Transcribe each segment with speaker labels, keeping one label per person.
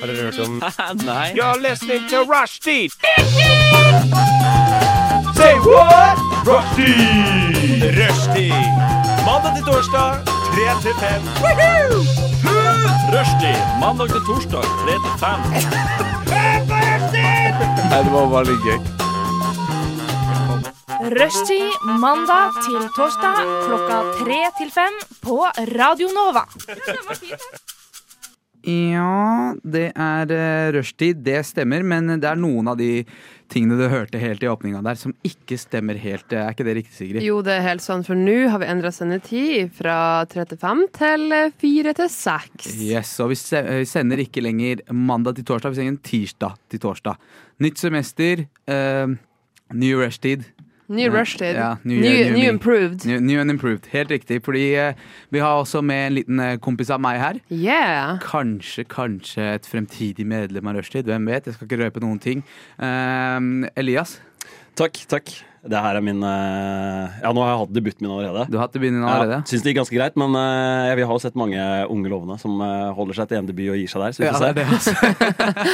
Speaker 1: Har dere hørt om
Speaker 2: Nei.
Speaker 3: You're listening to Rushdie. Say what? Rushdie. Rushdie. Mandag til torsdag, 3 til 5.
Speaker 2: Rushdie mandag til torsdag 3 til 5.
Speaker 4: Nei, det var bare litt gøy.
Speaker 5: Rushtid mandag til torsdag klokka tre til fem på Radio Nova.
Speaker 4: Ja, det er eh, rushtid, det stemmer. Men det er noen av de tingene du hørte helt i åpninga der, som ikke stemmer helt. Er ikke det riktig, Sigrid?
Speaker 6: Jo, det er helt sånn, for nå har vi endra sendetid fra 35 til 4 til 6.
Speaker 4: Yes, og vi se- eh, vi sender ikke lenger mandag til torsdag, vi sender tirsdag til torsdag. Nytt semester, eh, ny rushtid.
Speaker 6: Ny rushtid.
Speaker 4: Ja,
Speaker 6: new,
Speaker 4: new year, new
Speaker 6: new
Speaker 4: me.
Speaker 6: improved.
Speaker 4: New, new and improved, helt riktig. Fordi eh, vi har også med en liten eh, kompis av meg her.
Speaker 6: Yeah.
Speaker 4: Kanskje, kanskje et fremtidig medlem av Rushtid. Hvem vet? Jeg skal ikke røpe noen ting. Eh, Elias,
Speaker 2: Takk, takk. Det her er min eh, Ja, nå har jeg hatt debuten min allerede.
Speaker 4: du har hatt det begynnende allerede.
Speaker 2: Ja, Syns det gikk ganske greit, men eh, vi har jo sett mange unge lovende som eh, holder seg til en debut og gir seg der. Så vi
Speaker 4: Ja,
Speaker 2: får
Speaker 4: det, er det, altså.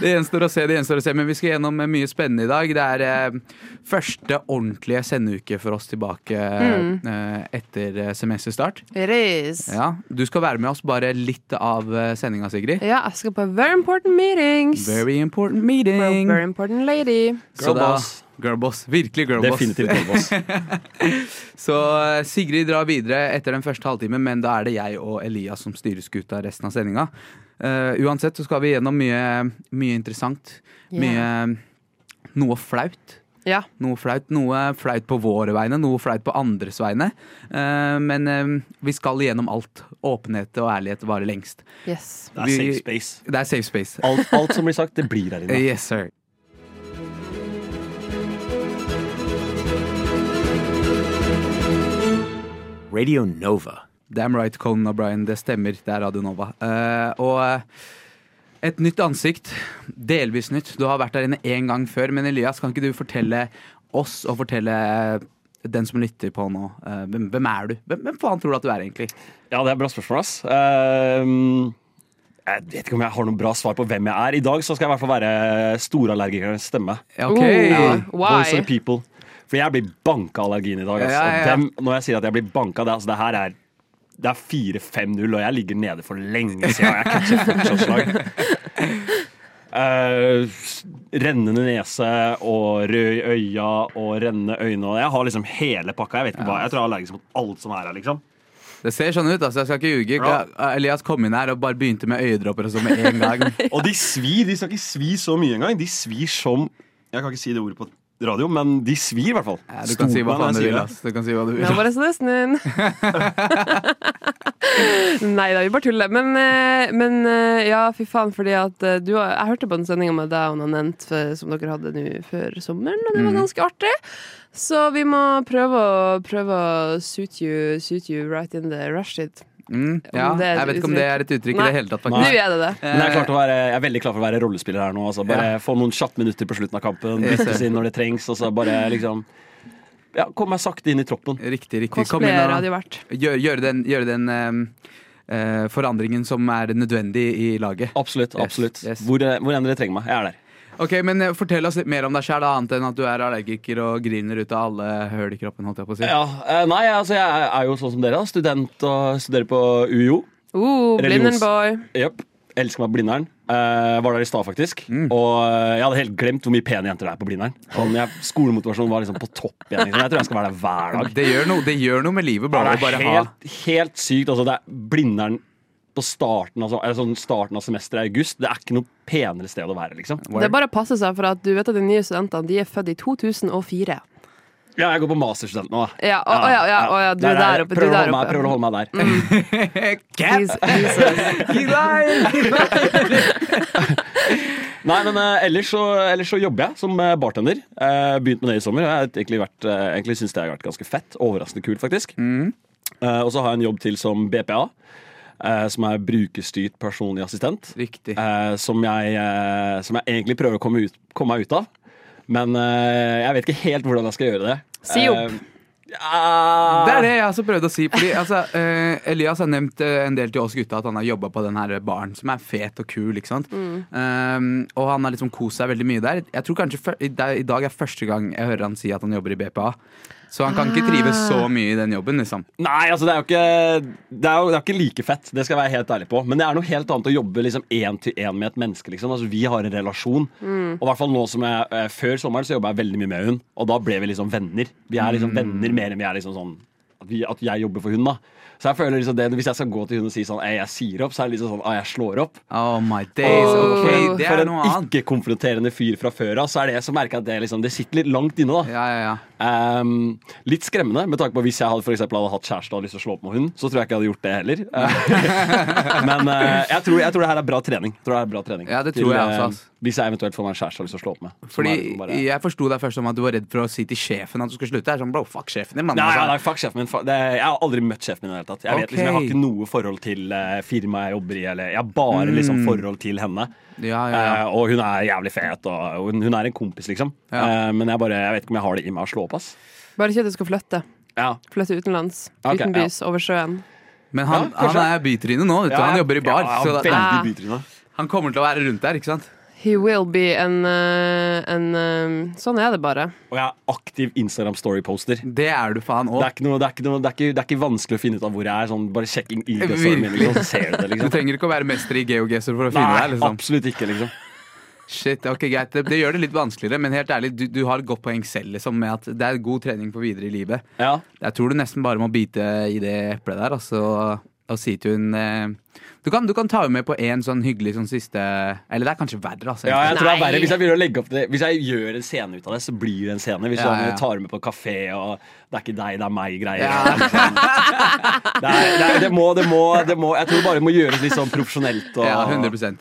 Speaker 4: det gjenstår å se, det gjenstår å se. Men vi skal gjennom eh, mye spennende i dag. Det er eh, første ordentlige sendeuke for oss tilbake eh, etter eh, semesterstart.
Speaker 6: It is. Ja.
Speaker 4: Ja, du skal være med oss bare litt av eh, sendinga, Sigrid.
Speaker 6: jeg skal på very important meetings.
Speaker 4: Very important
Speaker 6: For a
Speaker 4: meeting.
Speaker 6: very important lady.
Speaker 4: Så da-
Speaker 2: Girlboss.
Speaker 4: Girlboss. Virkelig
Speaker 2: se.
Speaker 4: girlboss.
Speaker 2: Definitivt Girlboss.
Speaker 4: Så eh, Sigrid drar videre etter den første halvtimen, men da er det jeg og Elias som styrer skuta resten av sendinga. Eh, uansett så skal vi gjennom mye, mye interessant.
Speaker 6: Ja.
Speaker 4: Mye eh, Noe flaut.
Speaker 6: Ja.
Speaker 4: Noe flaut, noe flaut på våre vegne, noe flaut på andres vegne. Eh, men eh, vi skal gjennom alt. Åpenhet og ærlighet varer lengst.
Speaker 6: Yes.
Speaker 2: Det er
Speaker 4: Vi-
Speaker 2: safe space.
Speaker 4: Det er safe space.
Speaker 2: Alt, alt som blir sagt, det blir her
Speaker 4: Eh,
Speaker 2: inne.
Speaker 4: yes, sir.
Speaker 3: Radio Nova.
Speaker 4: Damn right, Conan O'Brien. Det stemmer. Det er Radio Nova. Eh, og eh, et nytt ansikt. Delvis nytt. Du har vært der inne én gang før. Men Elias, kan ikke du fortelle oss, og fortelle eh, den som lytter på nå, eh, hvem, hvem er du? Hvem, hvem faen tror du at du er, egentlig?
Speaker 2: Ja, det er bra spørsmål, ass. Ehm, jeg vet ikke om jeg har noe bra svar på hvem jeg er. I dag så skal jeg i hvert fall være storallergikernes stemme.
Speaker 4: Ja, OK.
Speaker 6: Oh,
Speaker 4: ja.
Speaker 6: ja. Why?
Speaker 2: Voice of the people. For jeg blir banka av allergien i dag. Altså.
Speaker 4: Ja, ja, ja.
Speaker 2: Dem, når jeg sier at jeg blir banka, det, altså, det her er det er 4-5-0, og jeg ligger nede for lenge siden. og Jeg catcher fortsatt slag. Eh, rennende nese og rød i øya og rennende øyne. Og jeg har liksom hele pakka. Jeg vet ikke hva, jeg tror jeg er allergisk mot alt som er her. liksom.
Speaker 4: Det ser sånn ut, altså. Jeg skal ikke ljuge.
Speaker 2: Ja.
Speaker 4: Elias kom inn her og bare begynte med øyedråper og sånn med en gang.
Speaker 2: Og de svir. De skal ikke svi så mye engang. De svir som Jeg kan ikke si det ordet på radio, men de svir i hvert fall.
Speaker 4: Ja, du kan si hva
Speaker 2: Stol meg
Speaker 4: faen
Speaker 2: når
Speaker 4: du
Speaker 2: jeg sier
Speaker 4: vil.
Speaker 2: det.
Speaker 4: ass. Du kan si hva du vil.
Speaker 6: Nobody's listening. Nei da, vi bare tuller. Men, eh, men eh, ja, fy faen, fordi at eh, du har- Jeg hørte på en sending med deg og Nanent eh, som dere hadde nå før sommeren, og det var ganske artig. Så vi må prøve å, prøve å suit, you, suit you right in the rush it.
Speaker 4: Mm, ja.
Speaker 6: Om det er et
Speaker 4: Jeg vet ikke om det er et uttrykk i
Speaker 6: Nei.
Speaker 4: det hele tatt,
Speaker 6: Nå
Speaker 4: faktisk.
Speaker 6: er det det.
Speaker 2: Men jeg er, klar til å
Speaker 4: Eh,
Speaker 2: være, jeg er veldig klar for å være rollespiller her nå. Altså. Bare Få noen kjappe minutter på slutten av kampen,
Speaker 4: Yes,
Speaker 2: byttes
Speaker 4: sir.
Speaker 2: inn når det trengs. Og så bare liksom ja, Komme meg sakte inn i troppen.
Speaker 4: Riktig, riktig. Kom inn
Speaker 6: Cosplayere
Speaker 4: og
Speaker 6: hadde jo vært.
Speaker 4: gjøre gjør den, gjør den ehm, eh, forandringen som er nødvendig i laget.
Speaker 2: Absolutt.
Speaker 4: Yes,
Speaker 2: absolutt
Speaker 4: yes.
Speaker 2: Hvor, eh, hvor enn dere trenger meg. Jeg er der.
Speaker 4: Ok, men eh, Fortell oss litt mer om deg sjæl, annet enn at du er allergiker og griner ut av alle høl i kroppen. holdt jeg på å si.
Speaker 2: Ja, eh, nei, altså, jeg er jo sånn som dere. da. Student og studerer på UiO.
Speaker 6: Oh,
Speaker 2: Religions-
Speaker 6: Blinden boy.
Speaker 2: Jepp. Elsker meg Blindern. Eh, var der i stad, faktisk.
Speaker 4: Mm.
Speaker 2: Og eh, jeg hadde helt glemt hvor mye pene jenter det er på Blindern. Sånn, jeg- Skolemotivasjonen var liksom på topp igjen. Liksom. Jeg tror jeg skal være der hver dag.
Speaker 4: Det gjør, noe, det gjør noe med
Speaker 2: Ja,
Speaker 4: livet. Bare,
Speaker 2: det
Speaker 4: bare
Speaker 2: er
Speaker 4: ha.
Speaker 2: helt, helt sykt. Altså, det er Blindern på starten, altså, eller sånn starten av semesteret i august. Det er ikke noe penere sted å være, liksom.
Speaker 4: Word.
Speaker 6: Det er bare å passe seg, for at du vet at de nye studentene de er født i 2004.
Speaker 2: Ja, jeg går på masterstudent nå, da.
Speaker 6: Ja, å, å, ja, ja, å, ja, du
Speaker 2: Nei,
Speaker 6: er
Speaker 2: nei,
Speaker 6: der oppe, du
Speaker 2: Prøver,
Speaker 6: er
Speaker 2: å
Speaker 6: der
Speaker 2: holde meg-
Speaker 6: oppe.
Speaker 2: prøver
Speaker 6: Mm.
Speaker 2: å holde meg der.
Speaker 6: He's- he's a-
Speaker 2: Nei, men eh, ellers, så, ellers så jobber jeg som eh, bartender. Uh, begynt med det i sommer. Jeg har egentlig, vært, eh, egentlig syns det har vært ganske fett. Overraskende kult, faktisk.
Speaker 4: Mm.
Speaker 2: Eh, og så har jeg en jobb til som BPA, eh, som er brukerstyrt personlig assistent.
Speaker 4: Riktig.
Speaker 2: eh, som, jeg, eh, som jeg egentlig prøver å komme, ut, komme meg ut av. Men eh, jeg vet ikke helt hvordan jeg skal gjøre det.
Speaker 6: Si opp.
Speaker 2: Eh, Ah.
Speaker 4: Det er det jeg også prøvde å si. Fordi altså, eh, Elias har nevnt eh, en del til oss gutta at han har jobba på den her baren, som er fet og kul. ikke sant?
Speaker 2: Mm.
Speaker 4: Eh, og han har liksom kost seg veldig mye der. Jeg tror kanskje fø- i dag- I dag er første gang jeg hører han si at han jobber i BPA. Så han kan ikke trives
Speaker 2: Ah.
Speaker 4: så mye i den jobben, liksom.
Speaker 2: Nei, altså det er jo ikke Det er jo det er ikke like fett, det skal jeg være helt ærlig på. Men det er noe helt annet å jobbe liksom én til én med et menneske. liksom Altså Vi har en relasjon.
Speaker 4: Mm.
Speaker 2: Og i hvert fall nå som jeg eh, Før sommeren så jobba jeg veldig mye med hun, og da ble vi liksom venner. Vi er
Speaker 4: Mm.
Speaker 2: liksom venner mer enn vi er liksom sånn at, vi, at jeg jobber for hun, da. Så jeg føler liksom det Hvis jeg skal gå til hun og si sånn «Ei, jeg sier opp, så er det liksom sånn «Ei, jeg slår opp.
Speaker 4: Oh my days,
Speaker 6: Åh,
Speaker 4: ok, det
Speaker 2: For
Speaker 4: er
Speaker 2: en
Speaker 4: noe annet.
Speaker 2: ikke-konfronterende fyr fra før av, så er det så merker jeg at det, liksom, det sitter litt langt inne. da
Speaker 4: Ja, ja, ja.
Speaker 2: Ehm, litt skremmende, med tanke på hvis jeg hadde, for eksempel, hadde hatt kjæreste og hadde lyst til å slå opp med hun, så tror jeg ikke jeg hadde gjort det heller. Eh, Men eh, jeg, tror, jeg tror det her er bra trening. Jeg tror det er bra trening
Speaker 4: Ja, det tror jeg
Speaker 2: eh,
Speaker 4: også, ass.
Speaker 2: Hvis jeg eventuelt får meg en kjæreste og har lyst til å slå opp med. Som
Speaker 4: Fordi
Speaker 2: er liksom bare-
Speaker 4: jeg forsto deg først som at du var redd for å si til sjefen at du skulle slutte. Jeg er sånn, bro, fuck sjefen din, mann.
Speaker 2: Nei, nei,
Speaker 4: Altså.
Speaker 2: nei, fuck sjefen min. Fuck- Det, jeg har aldri møtt sjefen min i det hele tatt. Jeg, vet,
Speaker 4: Ok.
Speaker 2: liksom, jeg har ikke noe forhold til eh, firmaet jeg jobber i. Eller, jeg har bare
Speaker 4: Mm.
Speaker 2: liksom, forhold til henne.
Speaker 4: Ja, ja, ja.
Speaker 2: Eh, og hun er jævlig fet, og hun, hun er en kompis, liksom.
Speaker 4: Ja.
Speaker 2: Eh, men jeg, bare, jeg vet ikke om jeg har det i meg å slå opp, ass.
Speaker 6: Bare ikke at du skal flytte.
Speaker 2: Ja.
Speaker 6: Flytte utenlands.
Speaker 2: Ok,
Speaker 6: Utenbys, over sjøen.
Speaker 4: Men
Speaker 2: Ja,
Speaker 4: han,
Speaker 2: kanskje.
Speaker 4: han er bytryne nå, vet du. Han jobber i bar.
Speaker 2: Ja,
Speaker 4: så da,
Speaker 2: veldig bytryne.
Speaker 4: han kommer til å være rundt der, ikke sant?
Speaker 6: He will be en, eh, en eh, Sånn er det bare.
Speaker 2: Og jeg er aktiv Instagram-story-poster.
Speaker 4: Det er du faen
Speaker 2: Det
Speaker 4: òg.
Speaker 2: er, ikke noe, det, er ikke noe, det, er ikke, det er ikke vanskelig å finne ut av hvor jeg er. Sånn, bare sjekk inn i det, så,
Speaker 4: Virkelig.
Speaker 2: liksom, så ser du det,
Speaker 4: Du
Speaker 2: liksom.
Speaker 4: trenger ikke å være mester i geogeser for å finne
Speaker 2: Nei,
Speaker 4: deg. liksom
Speaker 2: absolutt ikke, liksom.
Speaker 4: Shit, ok, greit Det, det gjør det litt vanskeligere, men helt ærlig, du, du har et godt poeng selv liksom, med at det er god trening for videre i livet.
Speaker 2: Ja.
Speaker 4: Jeg tror du nesten bare må bite i det eplet der altså, og si til hun eh, du kan, du kan ta henne med på en sånn hyggelig sånn siste Eller det er kanskje verre, altså.
Speaker 2: ja, jeg tror det er
Speaker 6: Nei.
Speaker 2: verre. Hvis jeg begynner å legge opp det Hvis jeg gjør en scene ut av det, så blir det en scene. Hvis
Speaker 4: Ja, ja,
Speaker 2: jeg
Speaker 4: ja.
Speaker 2: tar med på kafé og 'det er ikke deg, det er meg'-greier. Det,
Speaker 4: Ja.
Speaker 2: er liksom, det, er- det, er- det, må- det, må- det må Jeg tror bare det må gjøres litt sånn profesjonelt. Og,
Speaker 4: Ja, 100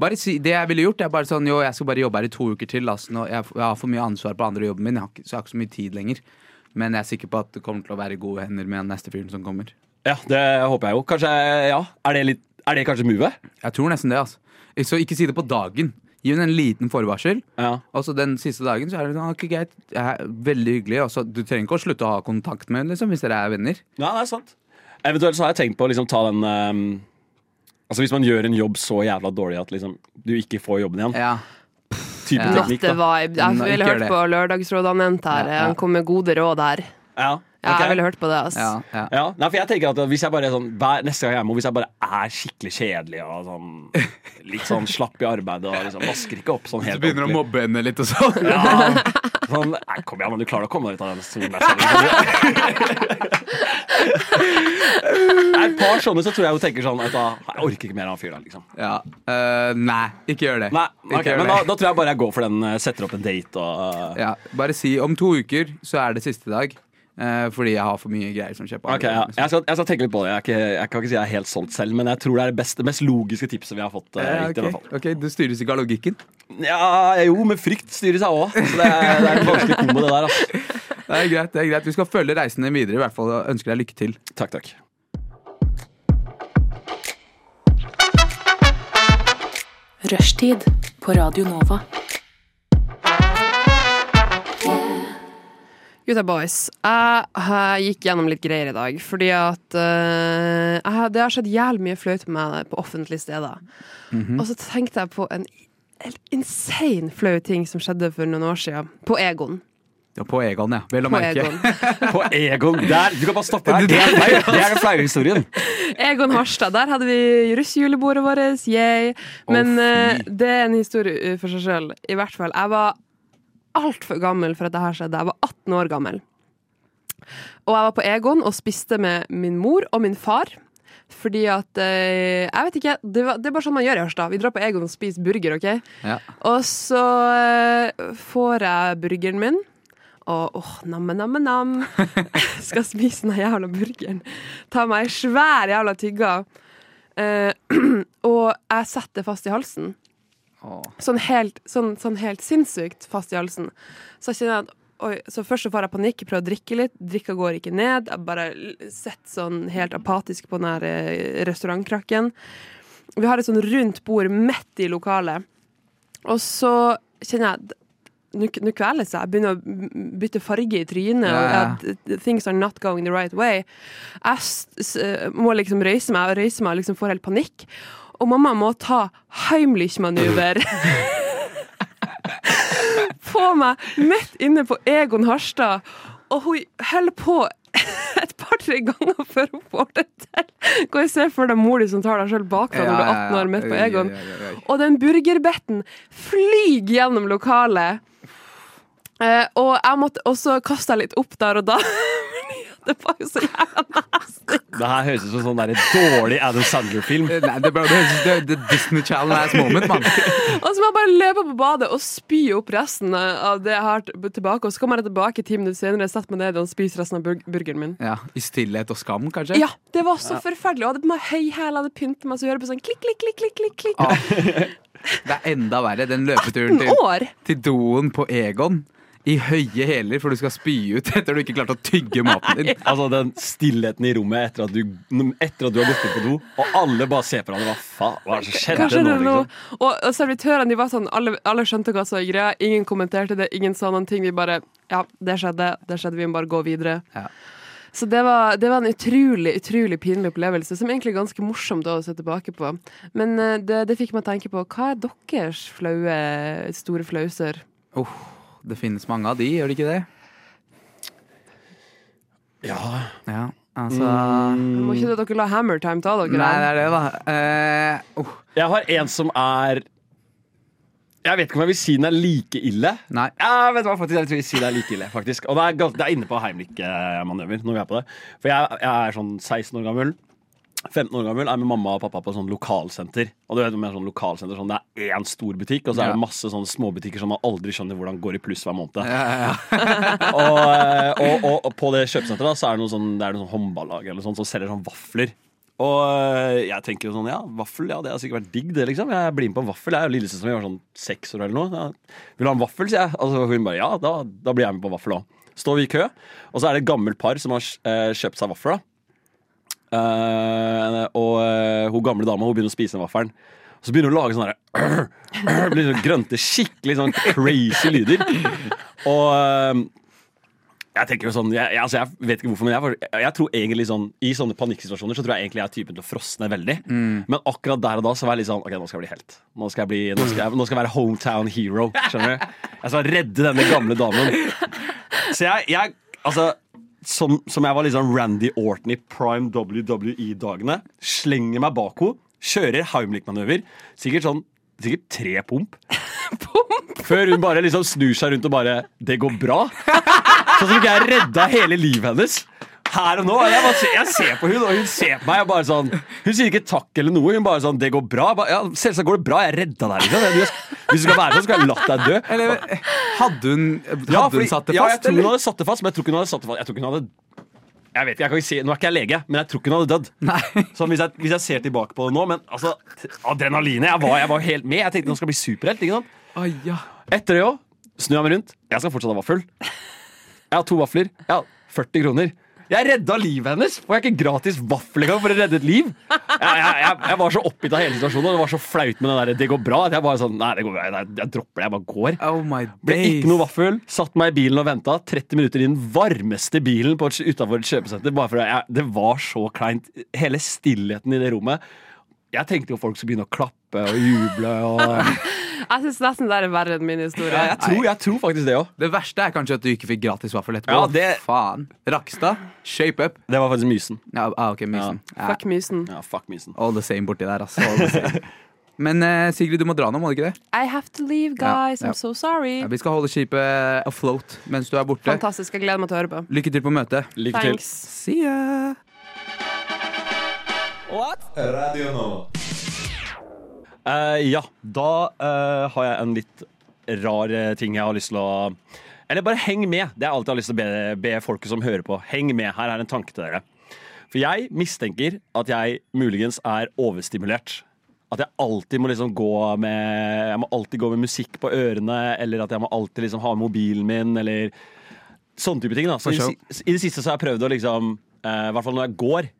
Speaker 4: bare si, Det jeg ville gjort, er bare sånn Jo, jeg skal bare jobbe her i to uker til. Altså, nå, jeg, jeg har for mye ansvar på andre jobben min, jeg har ikke, så jeg har ikke så mye tid lenger. Men jeg er sikker på at det kommer til å være i gode hender med den neste fyren som kommer.
Speaker 2: Ja, det håper jeg jo. Kanskje, ja. Er det, litt, er det kanskje movet?
Speaker 4: Jeg tror nesten det, altså. Så ikke si det på dagen. Gi henne en liten forvarsel.
Speaker 2: Ja.
Speaker 4: Og så den siste dagen så er det sånn, ok, greit, jeg er veldig hyggelig. Og så, du trenger ikke å slutte å ha kontakt med henne liksom, hvis dere er venner.
Speaker 2: Ja, det er sant. Eventuelt så har jeg tenkt på å liksom ta den ehm, Altså Hvis man gjør en jobb så jævla dårlig at liksom, du ikke får jobben igjen.
Speaker 4: Ja,
Speaker 2: Type
Speaker 4: Ja.
Speaker 2: teknikk, da.
Speaker 6: Nattevibe. Jeg
Speaker 4: Nei,
Speaker 6: ville
Speaker 4: ikke gjør
Speaker 6: hørt
Speaker 4: det.
Speaker 6: på lørdagsrådet han nevnte her.
Speaker 4: Ja, ja.
Speaker 6: Han kom med gode råd her.
Speaker 2: Ja,
Speaker 6: Ja,
Speaker 2: ok.
Speaker 6: jeg ville hørt på det. ass.
Speaker 4: ja, ja.
Speaker 2: Ja, nei, for jeg tenker at hvis jeg bare er sånn, hver, Neste gang jeg er hjemme, hvis jeg bare er skikkelig kjedelig og sånn, litt sånn slapp i arbeidet og liksom, vasker ikke opp sånn helt ordentlig.
Speaker 4: mobbe henne litt og sånn.
Speaker 2: Ja, sånn, nei, kom igjen, men du klarer å komme deg ut av den stolen der. selv. Nei, Et par sånne så tror jeg hun tenker sånn at da, Jeg orker ikke mer av han fyren. her, Liksom.
Speaker 4: Ja. eh, nei, ikke gjør det.
Speaker 2: Nei,
Speaker 4: Ikke
Speaker 2: ok,
Speaker 4: gjør
Speaker 2: men
Speaker 4: det.
Speaker 2: da, da tror jeg bare jeg går for den. eh, Setter opp en date og eh,
Speaker 4: Ja, bare si om to uker så er det siste dag. eh, fordi jeg har for mye greier som skjer på
Speaker 2: Ok,
Speaker 4: andre
Speaker 2: ja.
Speaker 4: dager, liksom.
Speaker 2: jeg, skal, jeg skal tenke litt på det. Jeg, er ikke, jeg kan ikke si jeg er helt solgt selv, men jeg tror det er det beste, mest logiske tipset vi har fått. eh,
Speaker 4: Eh,
Speaker 2: hittil, i hvert
Speaker 4: ok, ok, Du styres ikke av logikken.
Speaker 2: fall. Ja, jo, men frykt styrer seg òg. Så det er, det er en vanskelig kombo, det der. Altså.
Speaker 4: Det er greit, det er greit Vi skal følge reisen din videre i hvert fall og ønsker deg lykke til.
Speaker 2: Takk, takk.
Speaker 1: Rushtid på Radio Nova.
Speaker 6: Gutta boys, jeg, jeg gikk gjennom litt greier i dag, fordi at eh, jeg, har- det har skjedd jævlig mye flaut med meg på offentlige steder.
Speaker 4: Mhm.
Speaker 6: Og så tenkte jeg på en helt insane flau ting som skjedde for noen år siden, på Egon.
Speaker 4: Ja, på Egon, ja. Vel å
Speaker 6: På
Speaker 4: merke.
Speaker 6: Egon.
Speaker 2: På Egon der! Du kan bare stoppe her. Det er, feil. det er den flaue historien.
Speaker 6: Egon Harstad, der hadde vi russjulebordet vårt, yay. Men
Speaker 4: Å, fy.
Speaker 6: eh, det er en historie for seg sjøl, i hvert fall. Jeg var altfor gammel for at dette skjedde. Jeg var 18 år gammel. Og jeg var på Egon og spiste med min mor og min far. Fordi at eh, Jeg vet ikke. Det, var, det er bare sånn man gjør i Harstad. Vi drar på Egon og spiser burger, OK?
Speaker 4: Ja.
Speaker 6: Og så eh, får jeg burgeren min. Og åh, namme, namme, nam. Skal spise den jævla burgeren. Ta meg ei svær jævla tygga. Eh, og jeg setter det fast i halsen.
Speaker 4: Åh.
Speaker 6: Sånn helt, sånn, sånn helt sinnssykt fast i halsen. Så jeg kjenner at Oi, så først så får jeg panikk, prøver å drikke litt. Drikka går ikke ned. Jeg bare l- sitter sånn helt apatisk på den her eh, restaurantkrakken. Vi har et sånn rundt bord midt i lokalet. Og så kjenner jeg at Nå nå kveles jeg. Jeg begynner å bytte farge i trynet.
Speaker 4: Ja,
Speaker 6: Og at eh, things are not going the right way. Jeg s s må liksom røyse meg og røyse meg og liksom får helt panikk. Og mamma må ta Heimlich-manøver på meg midt inne på Egon Harstad. Og hun holder på et par-tre ganger før hun får det til. Hva jeg ser for deg mor di som tar deg sjøl bakfra når du er 18 år midt på Egon. Og den burgerbetten flyr gjennom lokalet. Eh, og jeg måtte også kaste litt opp der og da. Fordi det var jo så jævla nasty.
Speaker 2: Det her høres ut som sånn der dårlig Adam Sandler-film.
Speaker 4: Eh, Nei, det, bro, det, høres- det, det Disney Channel ass moment, mann.
Speaker 6: Og så må jeg bare løpe på badet og spy opp resten av det jeg har t- tilbake. Og så kommer jeg tilbake ti minutter senere, setter meg ned og spiser resten av burg burgeren min.
Speaker 4: Ja, I stillhet og skam, kanskje?
Speaker 6: Ja, det var så forferdelig. Og jeg hadde på meg høy hæl, jeg hadde pynt meg, så hører jeg på sånn klikk, klikk, klikk, klikk, klikk, klikk.
Speaker 4: Det er enda verre, den løpeturen til,
Speaker 6: 18 år!
Speaker 4: til doen på Egon. I høye hæler, for du skal spy ut etter du ikke klarte å tygge maten din.
Speaker 2: Altså Den stillheten i rommet etter at du, etter at du har gått ut på do, og alle bare ser på deg. Hva faen? Hva er det som
Speaker 6: Hva
Speaker 2: skjedde nå?
Speaker 6: skjedde nå?
Speaker 2: Liksom?
Speaker 6: Og, og servitørene de var sånn, alle, alle skjønte hva som var greia. Ingen kommenterte det, ingen sa noen ting. Vi bare Ja, det skjedde. Det skjedde, Vi må bare gå videre.
Speaker 4: Ja.
Speaker 6: Så det var, det var en utrolig utrolig pinlig opplevelse, som egentlig er ganske morsomt å se tilbake på. Men eh, det, det fikk meg tenke på hva er deres flaue, store flauser?
Speaker 4: Oh, det finnes mange av de, gjør det ikke det?
Speaker 2: Ja,
Speaker 4: Ja, altså
Speaker 6: Må ikke dere la Hammertime ta dere?
Speaker 4: Nei, det
Speaker 6: her?
Speaker 4: er det, da. Eh, oh,
Speaker 2: Jeg har en som er Jeg vet ikke om jeg vil si den er like ille.
Speaker 4: nei.
Speaker 2: Jeg vet hva, faktisk, jeg vil si den er like ille, faktisk. Og det er, gans- det er inne på Heimlich-manøver når vi er på det. For jeg, jeg er sånn 16 år gammel. 15 år gammel er med mamma og pappa på sånn lokalsenter. Og du vet om jeg er sånn lokalsenter, sånn, Det er én stor butikk, og så er
Speaker 4: Ja.
Speaker 2: det masse sånne småbutikker som man aldri skjønner hvordan går i pluss hver måned.
Speaker 4: Ja, ja, ja.
Speaker 2: og, eh, og, og, og på det kjøpesenteret da, så er det noe sånn, det er noe sånn håndballag eller sånn, som selger sånn vafler. Og jeg tenker jo sånn, ja, vaffel, ja, det har sikkert vært digg det, liksom. Jeg blir med på en vaffel. Jeg er jo lillesøster min, jeg var sånn seks år eller noe. Ja. Vil du ha en vaffel, sier jeg. Altså, hun bare, ja, da, da blir jeg med på vaffel òg. Står vi i kø, og så er det et gammelt par som har eh, kjøpt seg vaffel, da. Eh, og eh, hun gamle dama hun begynner å spise den vaffelen. Så begynner hun å lage sånne der, blir sånn grønte, skikkelig sånn crazy lyder. Og eh, jeg tenker jo sånn, jeg, jeg, altså jeg vet ikke hvorfor, men jeg, var- jeg tror egentlig sånn I sånne panikksituasjoner så tror jeg egentlig jeg er typen til å frosne veldig. Men akkurat der og da så var jeg litt sånn OK, nå skal jeg bli helt. Nå skal jeg, bli, nå skal jeg, nå skal jeg være hometown hero. Skjønner du? Jeg skal redde denne gamle damen. Så jeg, jeg Altså, som, som jeg var litt sånn Randy Orton i prime WWE-dagene, slenger meg bak henne, kjører Heimlich-manøver, sikkert sånn Sikkert tre pump. Før hun bare liksom snur seg rundt og bare 'Det går bra'. Sånn som ikke jeg redda hele livet hennes. Her og nå. Jeg, bare, ser- jeg ser på hun, og hun ser på meg. Og bare sånn, hun sier ikke takk eller noe. Hun bare sånn 'Det går bra'. Jeg Bare, ja, selvsagt går det bra. Jeg redda deg. Liksom. Du- Hvis du skal være sånn, skal jeg latt deg dø.
Speaker 4: Eller hadde hun, hadde
Speaker 2: fordi-
Speaker 4: hun satt det
Speaker 2: ja, jeg
Speaker 4: fast?
Speaker 2: tror hun
Speaker 4: eller?
Speaker 2: hadde satt det fast, men jeg tror ikke hun hadde satt det fast. Jeg tror ikke hun hadde jeg vet ikke, jeg kan ikke si, Nå er ikke jeg lege, men jeg tror ikke hun hadde dødd.
Speaker 4: Nei.
Speaker 2: Sånn, hvis, jeg, hvis jeg ser tilbake på det nå Men altså, t- adrenalinet Jeg var, jeg var helt med. Jeg tenkte nå skal jeg bli superhelt. ikke sant?
Speaker 4: Å, ja.
Speaker 2: Etter det òg snur jeg meg rundt. Jeg skal fortsatt ha vaffel. Jeg har to vafler. Jeg har 40 kroner. Jeg redda livet hennes! Får jeg ikke gratis vaffel engang for å redde et liv? Jeg, jeg, jeg, jeg var så oppgitt av hele situasjonen, og det var så flaut med den der 'det går bra' at jeg bare sånn Nei, det går bra. Nei, jeg dropper det. Jeg bare går.
Speaker 4: Oh my
Speaker 2: Ble
Speaker 4: days.
Speaker 2: ikke noe vaffel. Satt meg i bilen og venta 30 minutter i den varmeste bilen på et, utenfor et kjøpesenter. Bare for at jeg, det var så kleint. Hele stillheten i det rommet. Jeg tenkte jo folk skulle begynne å klappe og juble. Og,
Speaker 6: Jeg syns nesten det er verre enn min historie.
Speaker 2: jeg, tror, jeg tror faktisk det òg.
Speaker 4: Det verste er kanskje at du ikke fikk gratis vaffel etterpå.
Speaker 2: Ja, det-
Speaker 4: Faen. Rakstad, shape up.
Speaker 2: Det var faktisk Mysen.
Speaker 4: Ja, ah, ok, mysen. Ja.
Speaker 6: Fuck mysen.
Speaker 2: Ja, fuck Mysen.
Speaker 4: All the same borti der, altså. All the same. Men eh, Sigrid, du må dra nå, må du ikke det?
Speaker 6: I have to leave,
Speaker 4: Ja,
Speaker 6: guys.
Speaker 4: ja.
Speaker 6: I'm so sorry.
Speaker 4: Ja, vi skal holde skipet afloat mens du er borte.
Speaker 6: Fantastisk. Jeg gleder meg til å høre på.
Speaker 4: Lykke til på møtet.
Speaker 2: Lykke til.
Speaker 6: Thanks.
Speaker 4: See ya!
Speaker 3: Radio Nova.
Speaker 2: Eh, ja, da eh, har jeg en litt rar eh, ting jeg har lyst til å Eller bare heng med. Det er alt jeg har lyst til å be, be folket som hører på. Heng med. Her er en tanke til dere. For jeg mistenker at jeg muligens er overstimulert. At jeg alltid må liksom gå med Jeg må alltid gå med musikk på ørene, eller at jeg må alltid liksom ha med mobilen min, eller sånne type ting. da Så i,
Speaker 4: For
Speaker 2: det si- I det siste så har jeg prøvd å liksom eh, I hvert fall når jeg går,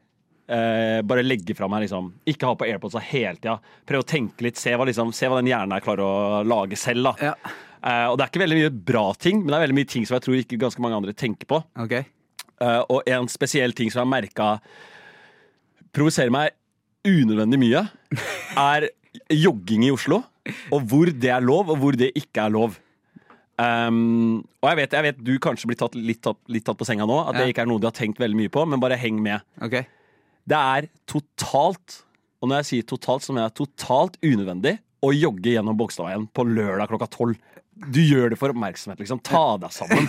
Speaker 2: eh, bare legge fra meg liksom Ikke ha på AirPods hele tida. Prøve å tenke litt, se hva, liksom, se hva den hjernen her klarer å lage selv. da
Speaker 4: Ja.
Speaker 2: Eh, og det er ikke veldig mye bra ting, men det er veldig mye ting som jeg tror ikke ganske mange andre tenker på.
Speaker 4: Ok.
Speaker 2: Eh, og en spesiell ting som jeg har merka provoserer meg unødvendig mye, er jogging i Oslo. Og hvor det er lov, og hvor det ikke er lov. Ehm, og jeg vet, jeg vet du kanskje blir tatt litt, tatt, litt tatt på senga nå, at det
Speaker 4: Ja.
Speaker 2: ikke er noe de har tenkt veldig mye på, men bare heng med.
Speaker 4: ok.
Speaker 2: Det er totalt, og når jeg sier totalt, så mener jeg totalt unødvendig å jogge gjennom Bogstadveien på lørdag klokka tolv. Du gjør det for oppmerksomhet, liksom. Ta deg sammen.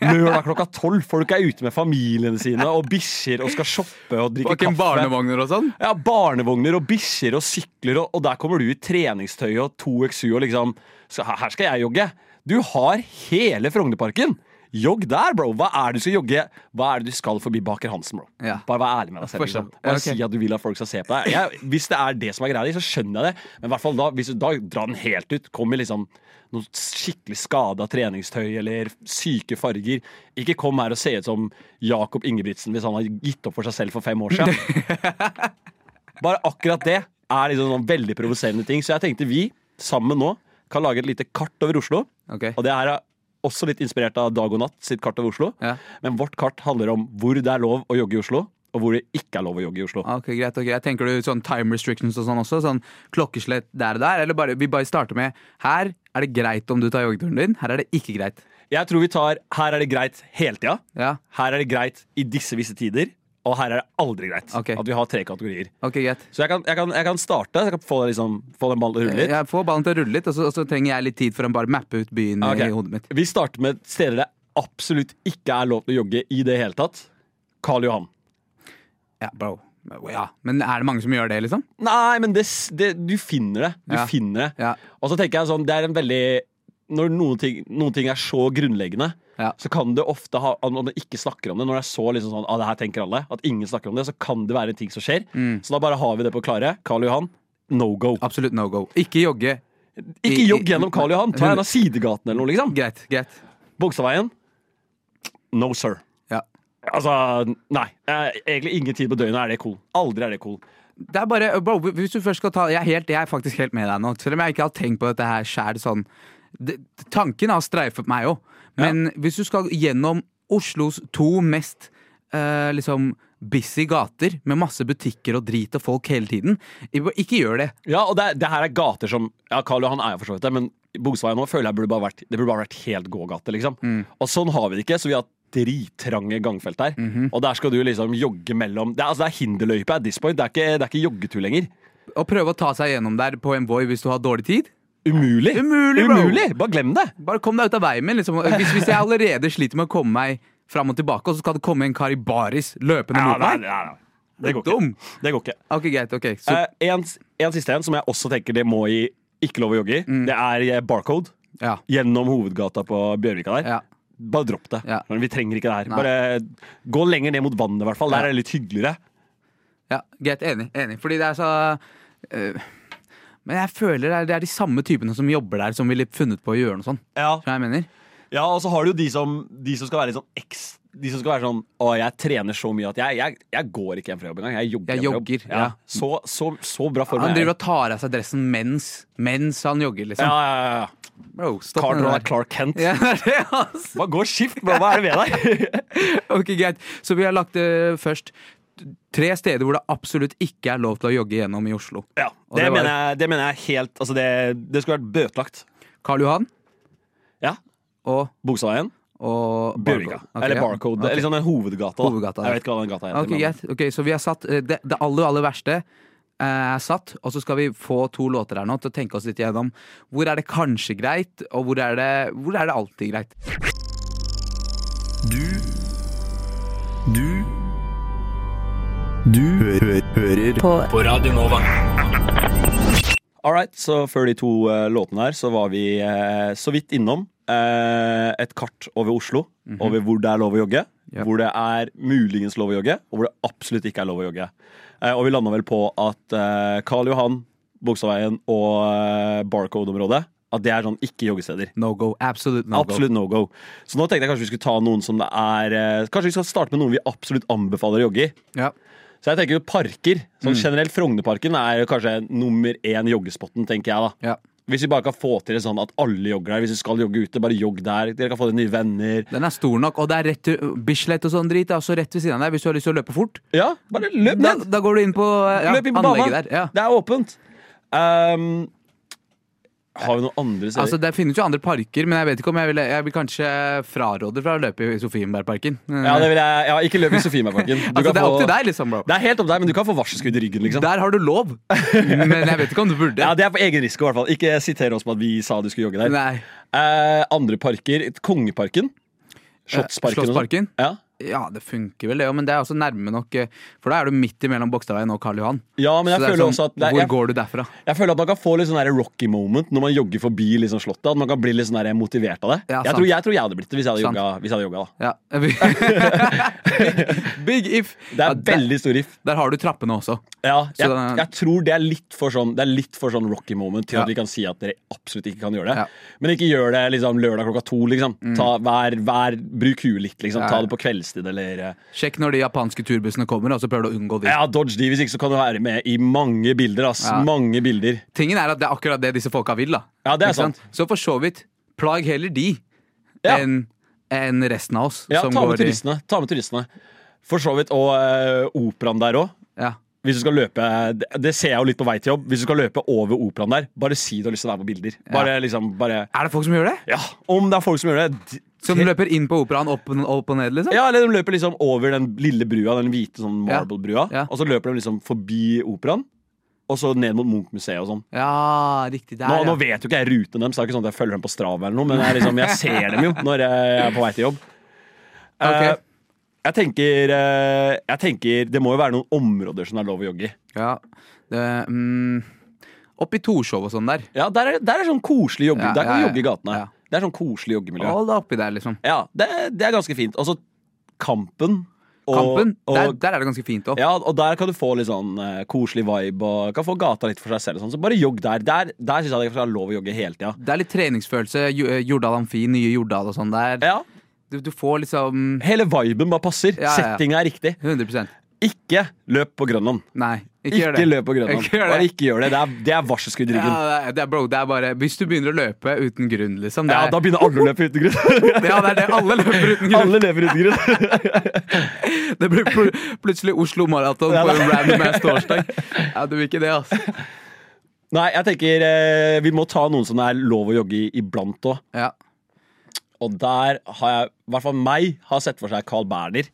Speaker 2: Lørdag klokka tolv. Folk er ute med familiene sine og bikkjer og skal shoppe og drikke
Speaker 4: Bak en
Speaker 2: kaffe.
Speaker 4: barnevogner og sånn?
Speaker 2: Ja, Barnevogner og bikkjer og sykler, og, og der kommer du i treningstøy og 2XU og liksom så her- Her skal jeg jogge. Du har hele Frognerparken. Jogg der, bro. Hva er det du skal jogge? Hva er det du skal forbi Baker Hansen, bro?
Speaker 4: Ja.
Speaker 2: Bare vær ærlig med deg selv.
Speaker 4: Forstå.
Speaker 2: Liksom. Bare
Speaker 4: Ja, ok.
Speaker 2: si at du vil at folk skal se på deg. Jeg, hvis det er det som er greia di, så skjønner jeg det. Men i hvert fall da, hvis du da drar den helt ut, kom i liksom noe skikkelig skada treningstøy eller syke farger. Ikke kom her og se ut som Jakob Ingebrigtsen hvis han har gitt opp for seg selv for fem år siden. Bare akkurat det er liksom sånn veldig provoserende ting. Så jeg tenkte vi sammen nå kan lage et lite kart over Oslo.
Speaker 4: Ok.
Speaker 2: Og det her er også litt inspirert av Dag og Natt sitt kart over Oslo.
Speaker 4: Ja.
Speaker 2: Men vårt kart handler om hvor det er lov å jogge i Oslo, og hvor det ikke er lov å jogge i Oslo.
Speaker 4: Ah, Ok, greit, ok. Jeg tenker du sånn time restrictions og sånn også? Sånn klokkeslett der og der? Eller bare, vi bare starter med her er det greit om du tar joggeturen din, her er det ikke greit.
Speaker 2: Jeg tror vi tar her er det greit hele tida,
Speaker 4: Ja,
Speaker 2: her er det greit i disse visse tider, og her er det aldri greit.
Speaker 4: Ok.
Speaker 2: At vi har tre kategorier.
Speaker 4: ok, greit.
Speaker 2: Så jeg kan, jeg kan, jeg kan starte. Jeg kan få, liksom, få den ballen til å rulle litt.
Speaker 4: Jeg får ballen til å rulle litt, og så, og så trenger jeg litt tid for å bare mappe ut byen
Speaker 2: Ah, Ok.
Speaker 4: i hodet mitt.
Speaker 2: Vi starter med steder det absolutt ikke er lov til å jogge i det hele tatt. Karl Johan.
Speaker 4: Ja, bro. Ja. Men er det mange som gjør det, liksom?
Speaker 2: Nei, men det, det, du finner det. Du
Speaker 4: Ja.
Speaker 2: finner det.
Speaker 4: Ja.
Speaker 2: Og så tenker jeg sånn, det er en veldig Når noen ting, noen ting er så grunnleggende,
Speaker 4: Ja.
Speaker 2: så kan det ofte ha Når man ikke snakker om det, når det er så liksom sånn ah, det her tenker alle, at ingen snakker om det, så kan det være en ting som skjer.
Speaker 4: Mm.
Speaker 2: Så da bare har vi det på klare. Karl Johan, no go.
Speaker 4: Absolutt no go. Ikke jogge.
Speaker 2: Ikke
Speaker 4: i-
Speaker 2: jogg gjennom Karl Johan. Ta en av sidegatene eller noe, liksom.
Speaker 4: Greit, greit.
Speaker 2: Bogstadveien, no sir.
Speaker 4: Ja.
Speaker 2: Altså, nei. Eh, Egentlig ingen tid på døgnet er det cool. Aldri er det cool.
Speaker 4: Det er bare, bro, hvis du først skal ta jeg er, helt, jeg er faktisk helt med deg nå. Selv om jeg ikke har tenkt på dette her sjæl sånn. Det, tanken har streifet meg òg. Men hvis du skal gjennom Oslos to mest eh, liksom busy gater med masse butikker og drit og folk hele tiden, ikke gjør det.
Speaker 2: Ja, og det, er- det her er gater som Ja, Karl Johan er jo for så vidt det, men Bogstadveien nå føler jeg burde bare vært Det burde bare vært helt gågate, liksom. Og sånn har vi det ikke, så vi har drittrange gangfelt der. Og der skal du liksom jogge mellom Det er, altså, det er hinderløype at this point. Det er ikke, det er ikke joggetur lenger.
Speaker 4: Og prøve å ta seg gjennom der på en Voi hvis du har dårlig tid.
Speaker 2: Umulig!
Speaker 4: Umulig, bro.
Speaker 2: Umulig! Bare glem det!
Speaker 4: Bare kom deg ut av veien min. Liksom. Hvis, hvis jeg allerede sliter med å komme meg fram og tilbake, og så skal det komme en kar i baris løpende
Speaker 2: Ja,
Speaker 4: mot
Speaker 2: nei,
Speaker 4: meg.
Speaker 2: nei, nei. Det går
Speaker 4: Dum.
Speaker 2: ikke. Det går ikke.
Speaker 4: Ok, greit. ok så,
Speaker 2: Eh, en, en siste en som jeg også tenker det må i ikke lov å jogge i, det er eh, barcode.
Speaker 4: ja,
Speaker 2: Gjennom hovedgata på Bjørvika der.
Speaker 4: ja.
Speaker 2: Bare dropp det.
Speaker 4: Ja.
Speaker 2: Men Vi trenger ikke det her.
Speaker 4: Nei.
Speaker 2: Bare Gå lenger ned mot vannet, i hvert fall. Der
Speaker 4: Ja.
Speaker 2: er det litt hyggeligere.
Speaker 4: Ja, greit, enig, enig. Fordi det er så øh, Men jeg føler det er, det er de samme typene som jobber der, som ville funnet på å gjøre noe sånt.
Speaker 2: Ja,
Speaker 4: Skjønner du hva jeg mener?
Speaker 2: Og så har du jo de som, de som skal være litt sånn eks... De som skal være sånn Å, jeg trener så mye at jeg, jeg, jeg går ikke hjem fra jobb engang. Jeg jogger.
Speaker 4: Jeg
Speaker 2: hjem fra jobb.
Speaker 4: jogger,
Speaker 2: ja.
Speaker 4: ja.
Speaker 2: Så, så, så bra form
Speaker 4: Han
Speaker 2: er
Speaker 4: driver
Speaker 2: jeg.
Speaker 4: og tar av seg dressen mens, mens han jogger,
Speaker 2: Ja,
Speaker 4: liksom.
Speaker 2: ja, ja, ja.
Speaker 4: Bro, stopp
Speaker 2: Carter
Speaker 4: med
Speaker 2: og
Speaker 4: det der.
Speaker 2: Clark Kent.
Speaker 4: Ja, det er det, ass.
Speaker 2: Bare gå og skift, bro. Hva er det med deg?
Speaker 4: Ok, greit. Så vi har lagt øh, først tre steder hvor det absolutt ikke er lov til å jogge gjennom i Oslo.
Speaker 2: ja,
Speaker 4: Og
Speaker 2: det,
Speaker 4: det var-
Speaker 2: mener jeg, det mener jeg helt Altså, det, det skulle vært bøtelagt.
Speaker 4: Karl Johan
Speaker 2: Ja.
Speaker 4: og,
Speaker 2: Bogstadveien,
Speaker 4: og
Speaker 2: Bjørvika.
Speaker 4: Ok,
Speaker 2: Eller
Speaker 4: ja.
Speaker 2: Barcode.
Speaker 4: Ok.
Speaker 2: Eller sånn en hovedgata. Da.
Speaker 4: Hovedgata, ja.
Speaker 2: Jeg vet ikke hva den gata heter.
Speaker 4: Ok,
Speaker 2: men-
Speaker 4: greit. Ok, så vi har satt eh, det, det aller, aller verste eh, er satt, og så skal vi få to låter her nå til å tenke oss litt gjennom. Hvor er det kanskje greit, og hvor er det, hvor er det alltid greit?
Speaker 7: Du Du Du hø hø hører på. Radio Nova.
Speaker 2: Alright, så før de to eh, låtene her, så var vi eh, så vidt innom eh, et kart over Oslo. Over hvor det er lov å jogge,
Speaker 4: Mhm. Ja.
Speaker 2: hvor det er muligens lov å jogge, og hvor det absolutt ikke er lov å jogge. Eh, og vi landa vel på at eh, Karl Johan, Bogstadveien og eh, Barcode-området, at det er sånn ikke joggesteder.
Speaker 4: No go. Absolutt no
Speaker 2: Absolutt no go. Så nå tenkte jeg kanskje vi skulle ta noen som det er eh, Kanskje vi skal starte med noen vi absolutt anbefaler å jogge i.
Speaker 4: go. Ja.
Speaker 2: Så jeg
Speaker 4: Mm.
Speaker 2: tenker jo parker. Sånn generelt Frognerparken er jo kanskje nummer én joggespotten, tenker jeg da.
Speaker 4: Ja.
Speaker 2: Hvis vi bare kan få til det sånn at alle jogger der. Hvis vi skal jogge ute, bare jogg der. Dere kan få dere nye venner.
Speaker 4: Den er stor nok, og det er rett til Bislett og sånn drit. Det er også rett ved siden av deg hvis du har lyst til å løpe fort.
Speaker 2: Ja, bare løp
Speaker 4: Da,
Speaker 2: ned!
Speaker 4: da går du inn på eh, ja,
Speaker 2: Løp inn på banen!
Speaker 4: anlegget der. Ja.
Speaker 2: Det er åpent. Ehm, har vi noen andre steder?
Speaker 4: Altså, det finnes jo andre parker, men jeg vet ikke om jeg vil, jeg vil kanskje fraråde fra å løpe i Sofienbergparken.
Speaker 2: ja, det vil jeg, ja, ikke løp i Sofienbergparken. Du
Speaker 4: altså,
Speaker 2: kan
Speaker 4: det er
Speaker 2: få-
Speaker 4: opp til deg, liksom, bro.
Speaker 2: Det er helt opp til deg, men du kan få varselskudd i ryggen. liksom
Speaker 4: Der har du lov, men jeg vet ikke om du burde.
Speaker 2: Ja, Det er på egen risiko. i hvert fall Ikke siter oss på at vi sa du skulle jogge der.
Speaker 4: Nei.
Speaker 2: Eh, andre parker Kongeparken.
Speaker 4: Eh,
Speaker 2: Slottsparken. og sånn.
Speaker 4: Slottsparken?
Speaker 2: Ja.
Speaker 4: Ja, det funker vel, det òg, men det er også nærme nok. eh, For da er du midt imellom Bogstadveien og Karl Johan.
Speaker 2: ja, men
Speaker 4: Så
Speaker 2: jeg
Speaker 4: det er
Speaker 2: føler
Speaker 4: sånn,
Speaker 2: også at det er,
Speaker 4: Hvor
Speaker 2: jeg,
Speaker 4: går du derfra?
Speaker 2: jeg føler at man kan få litt sånn der rocky moment når man jogger forbi liksom slottet. At man kan bli litt sånn der motivert av det.
Speaker 4: Ja,
Speaker 2: jeg,
Speaker 4: sant.
Speaker 2: tror, jeg tror jeg hadde blitt det hvis jeg hadde
Speaker 4: Sant.
Speaker 2: jogga. Hvis jeg hadde jogga da.
Speaker 4: Ja. big, big if.
Speaker 2: Det
Speaker 4: Ja,
Speaker 2: er veldig stor riff.
Speaker 4: Der, der har du trappene også.
Speaker 2: Ja, jeg,
Speaker 4: den-
Speaker 2: jeg tror det er litt for sånn Det er litt for sånn rocky moment til
Speaker 4: Ja.
Speaker 2: at vi kan si at dere absolutt ikke kan gjøre det.
Speaker 4: Ja.
Speaker 2: Men ikke gjør det liksom lørdag klokka to. liksom Ta hver, hver, Bruk huet litt. liksom
Speaker 4: Ja,
Speaker 2: Ta
Speaker 4: ja.
Speaker 2: det på kveldstid eller eh,
Speaker 4: Sjekk når de japanske turbussene kommer, og så prøver du å unngå de.
Speaker 2: Ja, Dodge de, hvis ikke så kan du være med i mange bilder. ass
Speaker 4: Ja.
Speaker 2: Mange bilder
Speaker 4: Tingen er at det er akkurat det disse folka vil, da.
Speaker 2: Ja, det er
Speaker 4: Ikke sant? Så for så vidt, plag heller de
Speaker 2: Ja.
Speaker 4: enn enn resten av oss.
Speaker 2: Ja,
Speaker 4: som
Speaker 2: ta med,
Speaker 4: går i-
Speaker 2: turistene, ta med turistene. For så vidt. Og eh, operaen der òg.
Speaker 4: Ja.
Speaker 2: Hvis du skal løpe det, det ser jeg jo litt på vei til jobb. Hvis du skal løpe over operaen der, bare si du har lyst til å være på bilder. Bare liksom, bare
Speaker 4: Er det folk som gjør det?
Speaker 2: Ja, Om det er folk som gjør det. d-
Speaker 4: Som løper inn på operaen, opp, opp og ned, liksom?
Speaker 2: Ja, eller De løper liksom over den lille brua, den hvite sånn
Speaker 4: Ja.
Speaker 2: marble-brua.
Speaker 4: Ja.
Speaker 2: Og så løper de liksom forbi operaen, og så ned mot Munch-museet og sånn.
Speaker 4: Ja, riktig. Der,
Speaker 2: Nå,
Speaker 4: ja.
Speaker 2: nå vet jo ikke jeg ruten deres, så det er ikke sånn at jeg følger dem på Strava eller noe, men jeg, liksom, jeg ser dem jo når jeg er på vei til jobb.
Speaker 4: Ok.
Speaker 2: Eh, jeg, tenker, eh, jeg tenker Det må jo være noen områder som det er lov å jogge i.
Speaker 4: Ja. Det, mm, opp i Torshov og sånn der.
Speaker 2: Ja, Der er, der er sånn koselig jogge.
Speaker 4: Ja,
Speaker 2: der kan du
Speaker 4: ja, ja.
Speaker 2: jogge i gatene.
Speaker 4: Ja.
Speaker 2: Det er sånn koselig joggemiljø.
Speaker 4: Hold deg oppi der, liksom.
Speaker 2: Ja, det, det er ganske fint. Og så Kampen. Og,
Speaker 4: Kampen,
Speaker 2: og,
Speaker 4: der, der er det ganske fint òg.
Speaker 2: ja, og der kan du få litt sånn eh, koselig vibe og kan få gata litt for seg selv. og Sånn. Så bare jogg der. Der, der syns jeg det er lov å jogge hele tida.
Speaker 4: Det er litt treningsfølelse. Jo- eh, Jordal Amfi, nye Jordal og sånn der.
Speaker 2: Ja,
Speaker 4: Du, du får liksom
Speaker 2: hele viben bare passer.
Speaker 4: Ja, ja, ja.
Speaker 2: Settinga er riktig.
Speaker 4: 100
Speaker 2: Ikke løp på Grønland.
Speaker 4: Nei, ikke,
Speaker 2: Ikke,
Speaker 4: gjør det.
Speaker 2: løp på Grønland.
Speaker 4: Ikke gjør det.
Speaker 2: Bare ikke gjør det. Det er, det er varselskudd i ryggen. Ja,
Speaker 4: Ja, det er- det er, bro, det er bare Hvis du begynner å løpe uten grunn, liksom. Det er,
Speaker 2: da begynner alle å løpe uten grunn.
Speaker 4: ja, det er det. Alle løper uten grunn.
Speaker 2: alle lever uten grunn.
Speaker 4: Det blir pl plutselig Oslo Maraton
Speaker 2: Ja,
Speaker 4: på en
Speaker 2: det-
Speaker 4: random ass torsdag. Ja, du vil ikke det, altså.
Speaker 2: Nei, jeg tenker eh, vi må ta noen som det er lov å jogge i iblant òg.
Speaker 4: Ja.
Speaker 2: Og der har jeg, i hvert fall meg, har sett for seg Carl Berner.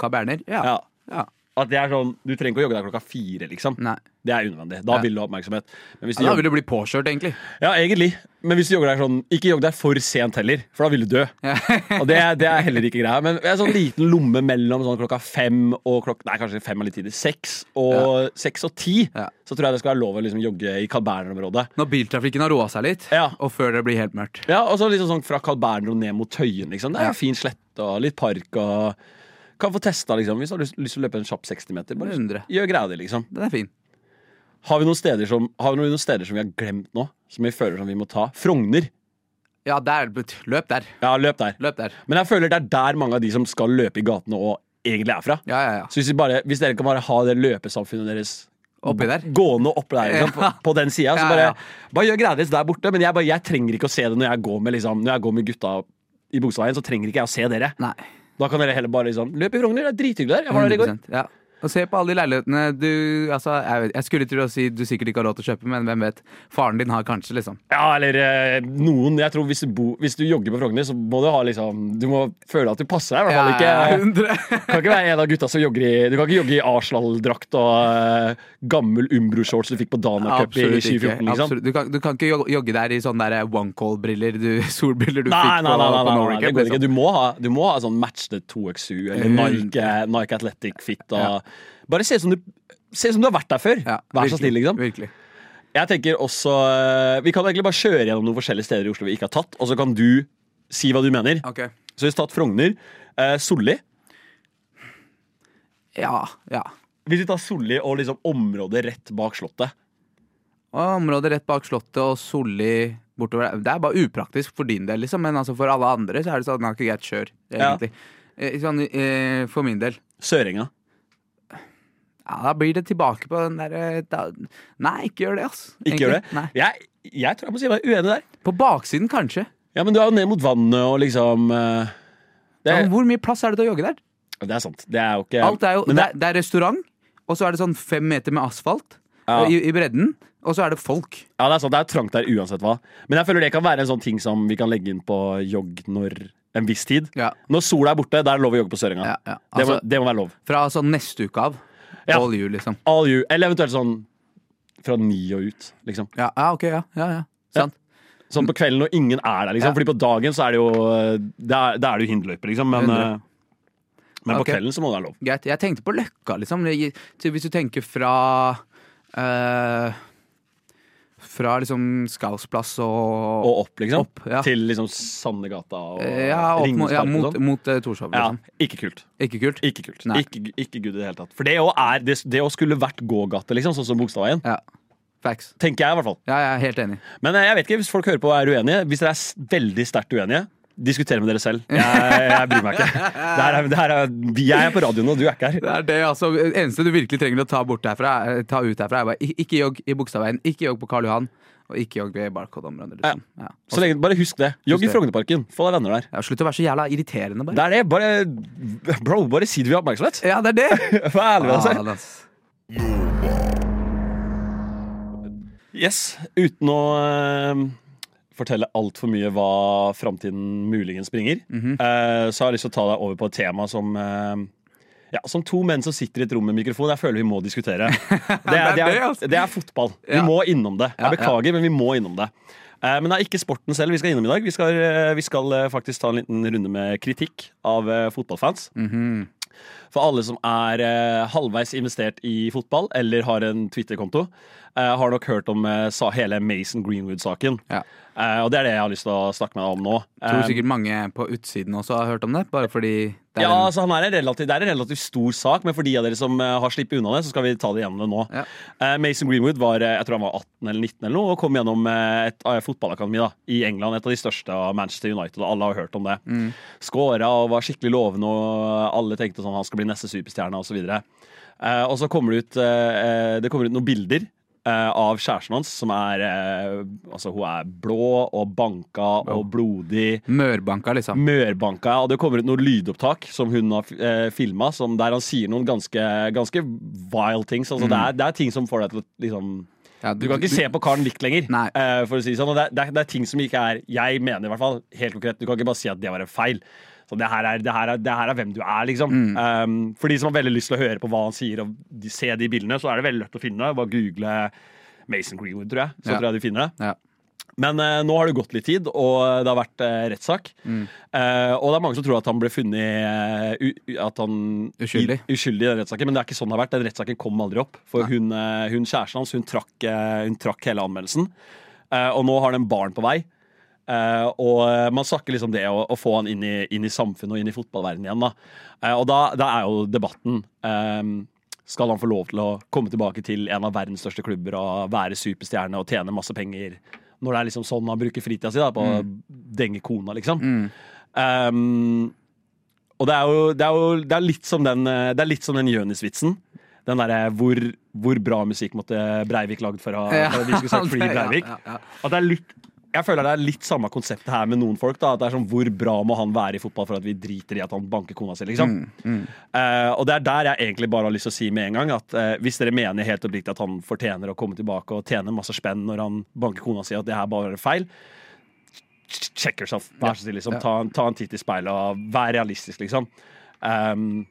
Speaker 4: Carl Berner? Ja.
Speaker 2: Ja.
Speaker 4: ja.
Speaker 2: At det er sånn, Du trenger ikke å jogge der klokka fire, liksom.
Speaker 4: Nei.
Speaker 2: Det er unødvendig. Da
Speaker 4: Ja.
Speaker 2: vil du ha oppmerksomhet. Men hvis du
Speaker 4: Ja, da
Speaker 2: jogger,
Speaker 4: vil du bli påkjørt, egentlig.
Speaker 2: ja, egentlig. Men hvis du jogger der sånn, ikke jogg der for sent heller, for da vil du dø. Og det, det er heller ikke greia. Men det er sånn liten lomme mellom sånn klokka fem og klokka Nei, kanskje fem er litt tidlig. Seks og, seks og ti.
Speaker 4: Ja.
Speaker 2: Så tror jeg det skal være lov å liksom jogge i Carl Berner-området.
Speaker 4: Når biltrafikken har roa seg litt,
Speaker 2: Ja.
Speaker 4: og før det blir helt mørkt.
Speaker 2: Ja, og så liksom sånn fra Carl Berner og ned mot Tøyen. Liksom. Det er
Speaker 4: Ja.
Speaker 2: en fin slette og litt park. og Kan få testa liksom, hvis du har lyst, lyst til å løpe en kjapp 60-meter. Bare
Speaker 4: 100.
Speaker 2: Gjør greia di, liksom.
Speaker 4: Den er fin.
Speaker 2: Har vi, noen steder som, har vi noen steder som vi har glemt nå, som vi føler som vi må ta? Frogner.
Speaker 4: Ja, der. Løp der.
Speaker 2: Ja, løp der.
Speaker 4: Løp der.
Speaker 2: Men jeg føler det er der mange av de som skal løpe i gatene, og egentlig er fra.
Speaker 4: Ja, ja, ja.
Speaker 2: Så hvis, vi bare, hvis dere kan bare ha det løpesamfunnet deres
Speaker 4: Oppi der.
Speaker 2: gående oppe der, liksom,
Speaker 4: Ja.
Speaker 2: på, på den sida, så
Speaker 4: Ja,
Speaker 2: bare,
Speaker 4: ja.
Speaker 2: bare gjør greia deres der borte. Men jeg, bare, jeg trenger ikke å se det når jeg går med, liksom, når jeg går med gutta i Bogstadveien, så trenger ikke jeg å se dere.
Speaker 4: Nei.
Speaker 2: Da kan dere heller bare liksom Løp i Frogner, det er drithyggelig der. Jeg var der i går.
Speaker 4: 100%, Ja. Og se på alle de leilighetene du altså, jeg, vet, jeg skulle til å si du sikkert ikke har råd til å kjøpe, men hvem vet. Faren din har kanskje, liksom.
Speaker 2: Ja, eller eh, noen. Jeg tror hvis du, bo, hvis du jogger på Frogner, så må du ha liksom Du må føle at du passer deg, i hvert
Speaker 4: Ja,
Speaker 2: fall. Ikke,
Speaker 4: 100.
Speaker 2: kan ikke være en av gutta som jogger i Du kan ikke jogge i Arsenal-drakt og eh, gammel Umbro-shorts du fikk på Dana Cup i
Speaker 4: Absolutt ikke.
Speaker 2: 2014, liksom.
Speaker 4: Absolutt. Du, kan, du kan ikke jog- jogge der i sånne der one call-briller, du, solbriller du
Speaker 2: Nei,
Speaker 4: fikk
Speaker 2: nei, nei, nei,
Speaker 4: på, på
Speaker 2: nei, nei,
Speaker 4: Norway
Speaker 2: det
Speaker 4: Cup,
Speaker 2: går ikke.
Speaker 4: liksom. Mm.
Speaker 2: Du må ha, du må ha sånn matchede 2XU eller Nike, Nike Athletic Fit. Og,
Speaker 4: Ja.
Speaker 2: Bare se ut som, du- se ut som du har vært der før.
Speaker 4: Ja,
Speaker 2: Vær så
Speaker 4: virkelig,
Speaker 2: snill, liksom.
Speaker 4: Virkelig.
Speaker 2: Jeg tenker også eh, Vi kan egentlig bare kjøre gjennom noen forskjellige steder i Oslo vi ikke har tatt, og så kan du si hva du mener.
Speaker 4: Ok.
Speaker 2: Så vi har tatt Frogner. Eh, Solli.
Speaker 4: Ja. ja.
Speaker 2: Hvis vi tar Solli og liksom området rett bak Slottet
Speaker 4: Og området rett bak Slottet og Solli bortover der. Det er bare upraktisk for din del, liksom, men altså for alle andre så er det sånn at ikke greit kjør,
Speaker 2: Ja.
Speaker 4: egentlig. Eh, Sånn, eh, for min del.
Speaker 2: Sørenga.
Speaker 4: Ja, eh, da blir det tilbake på den derre da- Nei, ikke gjør det, ass.
Speaker 2: Ikke gjør det?
Speaker 4: Nei.
Speaker 2: Jeg, jeg tror jeg må si meg uenig der.
Speaker 4: På baksiden, kanskje.
Speaker 2: Ja, Men du er jo ned mot vannet og liksom eh, det,
Speaker 4: Ja, men
Speaker 2: er,
Speaker 4: Sånn, hvor mye plass er det til å jogge der?
Speaker 2: det er sant. Det er jo ikke
Speaker 4: Alt er jo,
Speaker 2: men
Speaker 4: det,
Speaker 2: det,
Speaker 4: er, det er restaurant, og så er det sånn fem meter med asfalt
Speaker 2: Ja.
Speaker 4: og i, i bredden. Og så er det folk.
Speaker 2: ja, det er sant. Det er trangt der uansett hva. Men jeg føler det kan være en sånn ting som vi kan legge inn på jogg når en viss tid.
Speaker 4: Ja.
Speaker 2: Når sola er borte, da er det lov å jogge på Sørenga.
Speaker 4: Ja, ja.
Speaker 2: det, må,
Speaker 4: Altså-
Speaker 2: det må være lov.
Speaker 4: Fra sånn neste uke av.
Speaker 2: Ja.
Speaker 4: All you, liksom.
Speaker 2: All you. Eller eventuelt sånn fra ni og ut, liksom.
Speaker 4: Ja, ja ok, ja. ja, ja. Sant.
Speaker 2: Sånn på kvelden når ingen er der, liksom.
Speaker 4: Ja.
Speaker 2: Fordi på dagen så er det jo eh, Da er, da er det jo hinderløype, liksom. Men,
Speaker 4: 100.
Speaker 2: eh, men
Speaker 4: Ok.
Speaker 2: på kvelden så må det være lov.
Speaker 4: Greit. Jeg tenkte på Løkka, liksom. Det- så Hvis du tenker fra eh, Fra liksom Skausplass og,
Speaker 2: Og opp, liksom.
Speaker 4: Opp, ja. Eh,
Speaker 2: Til liksom Sandegata og
Speaker 4: Ja, opp, mot- ja,
Speaker 2: Ringnesparken og
Speaker 4: mot,
Speaker 2: sånn.
Speaker 4: mot eh, Torshov,
Speaker 2: Ja,
Speaker 4: liksom.
Speaker 2: ikke kult.
Speaker 4: Ikke kult?
Speaker 2: Ikke kult.
Speaker 4: Nei.
Speaker 2: Ikke, ikke good i det hele tatt. For det å, er, det, det å skulle vært gågate, liksom, sånn som Bogstadveien,
Speaker 4: Ja. Facts.
Speaker 2: tenker jeg i hvert fall.
Speaker 4: Ja, jeg er helt enig.
Speaker 2: Men eh, jeg vet ikke hvis folk hører på og er uenige. Hvis dere er s- veldig sterkt uenige, diskuter med dere selv. Jeg, jeg bryr meg ikke. Det her er, det her er, jeg er på radioen, og du er ikke her.
Speaker 4: Det er det, altså. Det eneste du virkelig trenger å ta, bort herfra, er- ta ut herfra, er bare ik- ikke jogg i Bogstadveien, ikke jogg på Karl Johan, og ikke jogg ved Barcode-området. Liksom. Ja.
Speaker 2: Så lenge, bare husk det. Jogg i
Speaker 4: Husk det.
Speaker 2: Frognerparken. Få deg venner der.
Speaker 4: Ja, slutt å være så jævla irriterende, bare.
Speaker 2: Det er det. Bare, bro, bare si det vi har oppmerksomhet.
Speaker 4: Ja, det er det! Altså,
Speaker 2: Vær ærlig med deg selv.
Speaker 4: Faen, ass.
Speaker 2: Yes, uten å eh, fortelle altfor mye hva framtiden muligens bringer,
Speaker 4: Mhm.
Speaker 2: eh, så har jeg lyst til å ta deg over på et tema som eh, ja, som to menn som sitter i et rom med mikrofon, jeg føler vi må diskutere. Det er, det
Speaker 4: det,
Speaker 2: er,
Speaker 4: altså.
Speaker 2: det er fotball. Vi
Speaker 4: Ja.
Speaker 2: må innom det. Jeg
Speaker 4: Ja, ja.
Speaker 2: beklager, men vi må innom det. Eh, Men det er ikke sporten selv vi skal innom i dag. Vi skal, eh, vi skal eh, faktisk ta en liten runde med kritikk av eh, fotballfans. For alle som er eh, halvveis investert i fotball eller har en Twitter-konto, eh, har nok hørt om eh, sa, hele Mason Greenwood-saken.
Speaker 4: Ja.
Speaker 2: Eh, og det er det jeg har lyst til å snakke med deg om nå.
Speaker 4: Tror
Speaker 2: Eh,
Speaker 4: sikkert mange på utsiden også har hørt om det, bare fordi det er
Speaker 2: ja,
Speaker 4: en-
Speaker 2: altså han er en relativt, Det er en relativt stor sak, men for de av dere som eh, har slippet unna det, så skal vi ta det gjennom det nå.
Speaker 4: Ja.
Speaker 2: Eh, Mason Greenwood var eh, jeg tror han var 18 eller 19 eller noe, og kom gjennom eh, et eh, fotballakademi da, i England. Et av de største av Manchester United, og alle har hørt om det. Mm. Skåra og var skikkelig lovende, og alle tenkte sånn han skal bli neste superstjerne osv. Eh, og så kommer det ut, eh, eh, det kommer ut noen bilder. eh, Av kjæresten hans, som er eh, Altså, hun er blå og banka og blodig.
Speaker 4: Mørbanka, liksom.
Speaker 2: Mm. Mørbanka, ja. Og det kommer ut noen lydopptak som hun har eh, filma, der han sier noen ganske, ganske wild things. Altså, det, er, det er ting som får deg til å liksom
Speaker 4: Ja,
Speaker 2: Du kan ikke se på karen likt lenger,
Speaker 4: Nei.
Speaker 2: eh, for å si det sånn. Og det, er- det, er, det er ting som ikke er Jeg mener i hvert fall, helt konkret, du kan ikke bare si at det var en feil. Så det her er, det her er, det her er hvem du er, liksom. Um, for de som har veldig lyst til å høre på hva han sier, og de, se de bildene, så er det veldig lett å finne. Bare google Mason Greenwood, tror jeg. Så
Speaker 4: Ja.
Speaker 2: tror jeg du finner det.
Speaker 4: Ja.
Speaker 2: Men eh, nå har det gått litt tid, og det har vært eh, rettssak. Eh, og det er mange som tror at han ble funnet eh, u, u- at han,
Speaker 4: Uskyldig.
Speaker 2: I, uskyldig i den rettssaken, men det er ikke sånn det har vært. Den rettssaken kom aldri opp. For hun, eh, hun kjæresten hans hun trakk, eh, hun trakk hele anmeldelsen. Eh, og nå har den barn på vei. Eh, og eh, man snakker liksom det å, å få han inn i, inn i samfunnet og inn i fotballverdenen igjen. Da. Eh, og da, da er jo debatten eh, Skal han få lov til å komme tilbake til en av verdens største klubber og være superstjerne og tjene masse penger? Når det er liksom sånn han bruker fritida si, da, på å
Speaker 4: Mm.
Speaker 2: denge kona, liksom. Eh, og det er jo, det er jo det er litt som den, eh, det er litt som den Jonis-vitsen. Den derre hvor, hvor bra musikk måtte Breivik lagd for, å-
Speaker 4: Ja.
Speaker 2: for at vi skulle sagt Free Breivik.
Speaker 4: Ja, ja, ja.
Speaker 2: At det er litt jeg føler det er litt samme konseptet her med noen folk. da, at det er sånn, Hvor bra må han være i fotball for at vi driter i at han banker kona si? liksom?
Speaker 4: Mm,
Speaker 2: Eh, og det er der jeg egentlig bare har lyst til å si med en gang at eh, hvis dere mener helt oppriktig at han fortjener å komme tilbake og tjene masse spenn når han banker kona si, at det her bare er feil, check yourself. Vær så snill, liksom. Ta, en- ta en titt i speilet og vær realistisk, liksom. Ehm,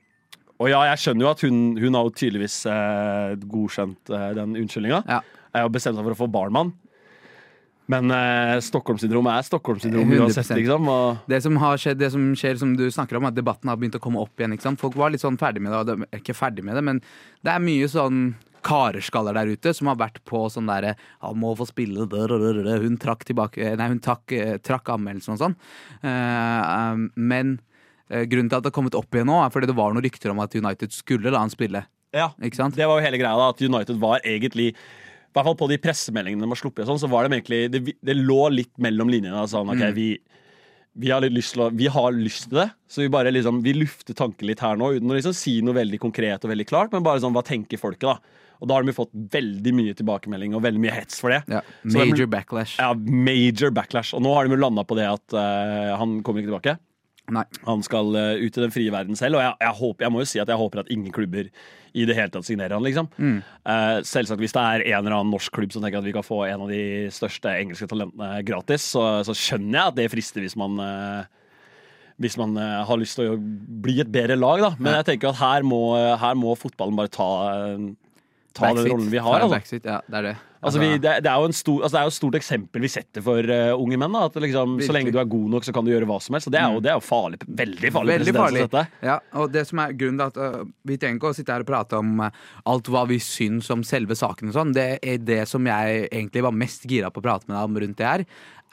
Speaker 2: og ja, jeg skjønner jo at hun, hun har jo tydeligvis eh, godkjent eh, den unnskyldninga
Speaker 4: Ja.
Speaker 2: eh, og bestemt seg for å få barn med han. Men eh, Stockholm-syndrom er Stockholm-syndrom
Speaker 4: 100%.
Speaker 2: uansett, liksom. Og,
Speaker 4: Det som har skjedd, det som skjer, som du snakker om, er at debatten har begynt å komme opp igjen. Ikke sant? Folk var litt sånn ferdig med det, og de er ikke ferdig med det, men det er mye sånn kareskaller der ute som har vært på sånn derre Han må få spille der, der, der. Hun trakk tilbake Nei, hun trakk, eh, trakk anmeldelsen og sånn. Eh, um, men eh, grunnen til at det har kommet opp igjen nå, er fordi det var noen rykter om at United skulle la han spille.
Speaker 2: ja,
Speaker 4: Ikke sant?
Speaker 2: det var jo hele greia, da, at United var egentlig i hvert fall på de pressemeldingene de har sluppet, og sånn, så var de egentlig, det, det lå litt mellom linjene. Da, sånn, ok,
Speaker 4: Mm.
Speaker 2: vi, vi, har litt lyst til å, vi har lyst til det, så vi bare liksom, vi lufter tanken litt her nå, uten å liksom si noe veldig konkret og veldig klart, men bare sånn, hva tenker folket da? Og da har de jo fått veldig mye tilbakemelding og veldig mye hets for det.
Speaker 4: Ja.
Speaker 2: Så det
Speaker 4: Major
Speaker 2: blir-
Speaker 4: backlash.
Speaker 2: Ja, major backlash. Og nå har de jo landa på det at eh, han kommer ikke tilbake.
Speaker 4: Nei.
Speaker 2: Han skal eh, ut i den frie verden selv, og jeg, jeg, håper, jeg må jo si at jeg håper at ingen klubber i det hele tatt signerer han, liksom.
Speaker 4: Mm.
Speaker 2: Eh, selvsagt, hvis det er en eller annen norsk klubb som tenker at vi kan få en av de største engelske talentene gratis, så, så skjønner jeg at det frister hvis man eh, hvis man eh, har lyst til å bli et bedre lag, da. Men jeg tenker at her må, her må fotballen bare ta, eh, ta den
Speaker 4: Backseat.
Speaker 2: rollen vi
Speaker 4: Ta
Speaker 2: har.
Speaker 4: en
Speaker 2: Altså.
Speaker 4: backseat, Ja, det er det.
Speaker 2: Altså, vi, det, det, er jo en stor, altså, det er jo et stort eksempel vi setter for eh, unge menn. Da, at liksom,
Speaker 4: Virkelig.
Speaker 2: så lenge du er god nok, så kan du gjøre hva som helst. Og det er jo, det er jo farlig, Mm. veldig farlig. presedens
Speaker 4: Veldig
Speaker 2: å
Speaker 4: farlig.
Speaker 2: sette.
Speaker 4: Ja, og det som er grunnen til at øh, Vi trenger ikke å sitte her og prate om øh, alt hva vi syns om selve saken. og sånn Det er det som jeg egentlig var mest gira på å prate med deg om rundt det her.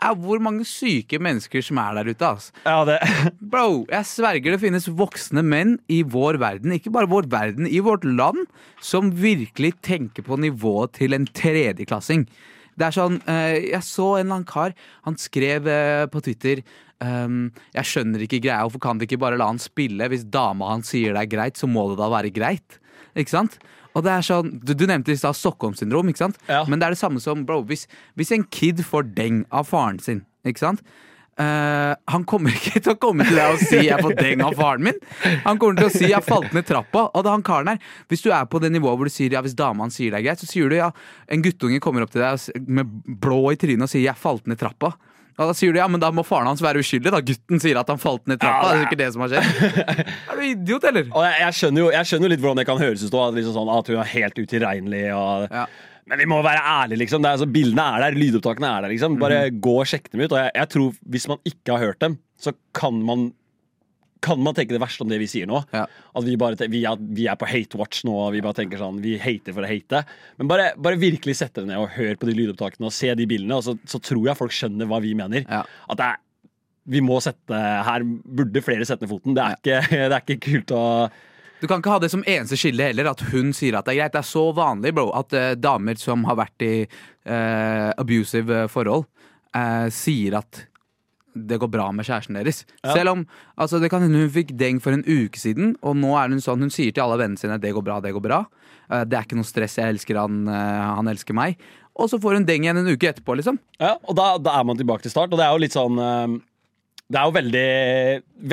Speaker 4: Er hvor mange syke mennesker som er der ute. ass
Speaker 2: Ja, det,
Speaker 4: Bro, jeg sverger det finnes voksne menn i vår verden, ikke bare vår verden, i vårt land, som virkelig tenker på nivået til en tredjeklassing. Det er sånn, eh, Jeg så en eller annen kar. Han skrev eh, på Twitter ehm, Jeg skjønner ikke greia. Hvorfor kan de ikke bare la han spille? Hvis dama hans sier det er greit, så må det da være greit. Ikke sant? Og det er sånn, Du, du nevnte i stad Stockholm-syndrom, ikke sant?
Speaker 2: Ja.
Speaker 4: Men det er det samme som bro, hvis, hvis en kid får deng av faren sin, ikke sant? Eh, han kommer ikke til å komme til deg og si 'jeg får deng av faren min'. Han kommer til å si 'jeg falt ned trappa'. Og da han karen her, Hvis du er på det nivået hvor du sier ja, hvis dama hans sier det er greit, så sier du ja, en guttunge kommer opp til deg og s- med blå i trynet og sier 'jeg falt ned trappa'. Og da sier du ja, men da må faren hans være uskyldig, da. Gutten sier at han falt ned trappa. det er jo ikke det som har skjedd. Er du idiot, eller?
Speaker 2: og jeg, jeg, skjønner jo, jeg skjønner jo litt hvordan det kan høres ut. da, At, liksom sånn, at hun er helt utilregnelig. Og,
Speaker 4: Ja.
Speaker 2: Men vi må være ærlige, liksom. Det er, altså, bildene er der, lydopptakene er der. liksom. Bare gå og sjekk dem ut. Og jeg, jeg tror Hvis man ikke har hørt dem, så kan man kan man tenke det verste om det vi sier nå.
Speaker 4: Ja.
Speaker 2: At vi, bare, te- vi, er, vi er på hate watch nå, og vi bare tenker sånn Vi hater for å hate. Men bare, bare virkelig sette deg ned og hør på de lydopptakene og se de bildene, og så, så tror jeg folk skjønner hva vi mener.
Speaker 4: Ja.
Speaker 2: At det er Vi må sette Her burde flere sette ned foten. Det er, ikke, det er ikke kult å
Speaker 4: Du kan ikke ha det som eneste skille heller, at hun sier at det er greit. Det er så vanlig bro, at eh, damer som har vært i eh, abusive eh, forhold, eh, sier at det går bra med kjæresten deres. Selv om altså, det kan hende hun fikk deng for en uke siden, og nå er hun sånn, hun sier til alle vennene sine det går bra, det går bra. Eh, det er ikke noe stress, jeg elsker han, eh, han elsker meg. Og så får hun deng igjen en uke etterpå, liksom.
Speaker 2: Ja, og da, da er man tilbake til start. Og det er jo litt sånn eh, Det er jo veldig,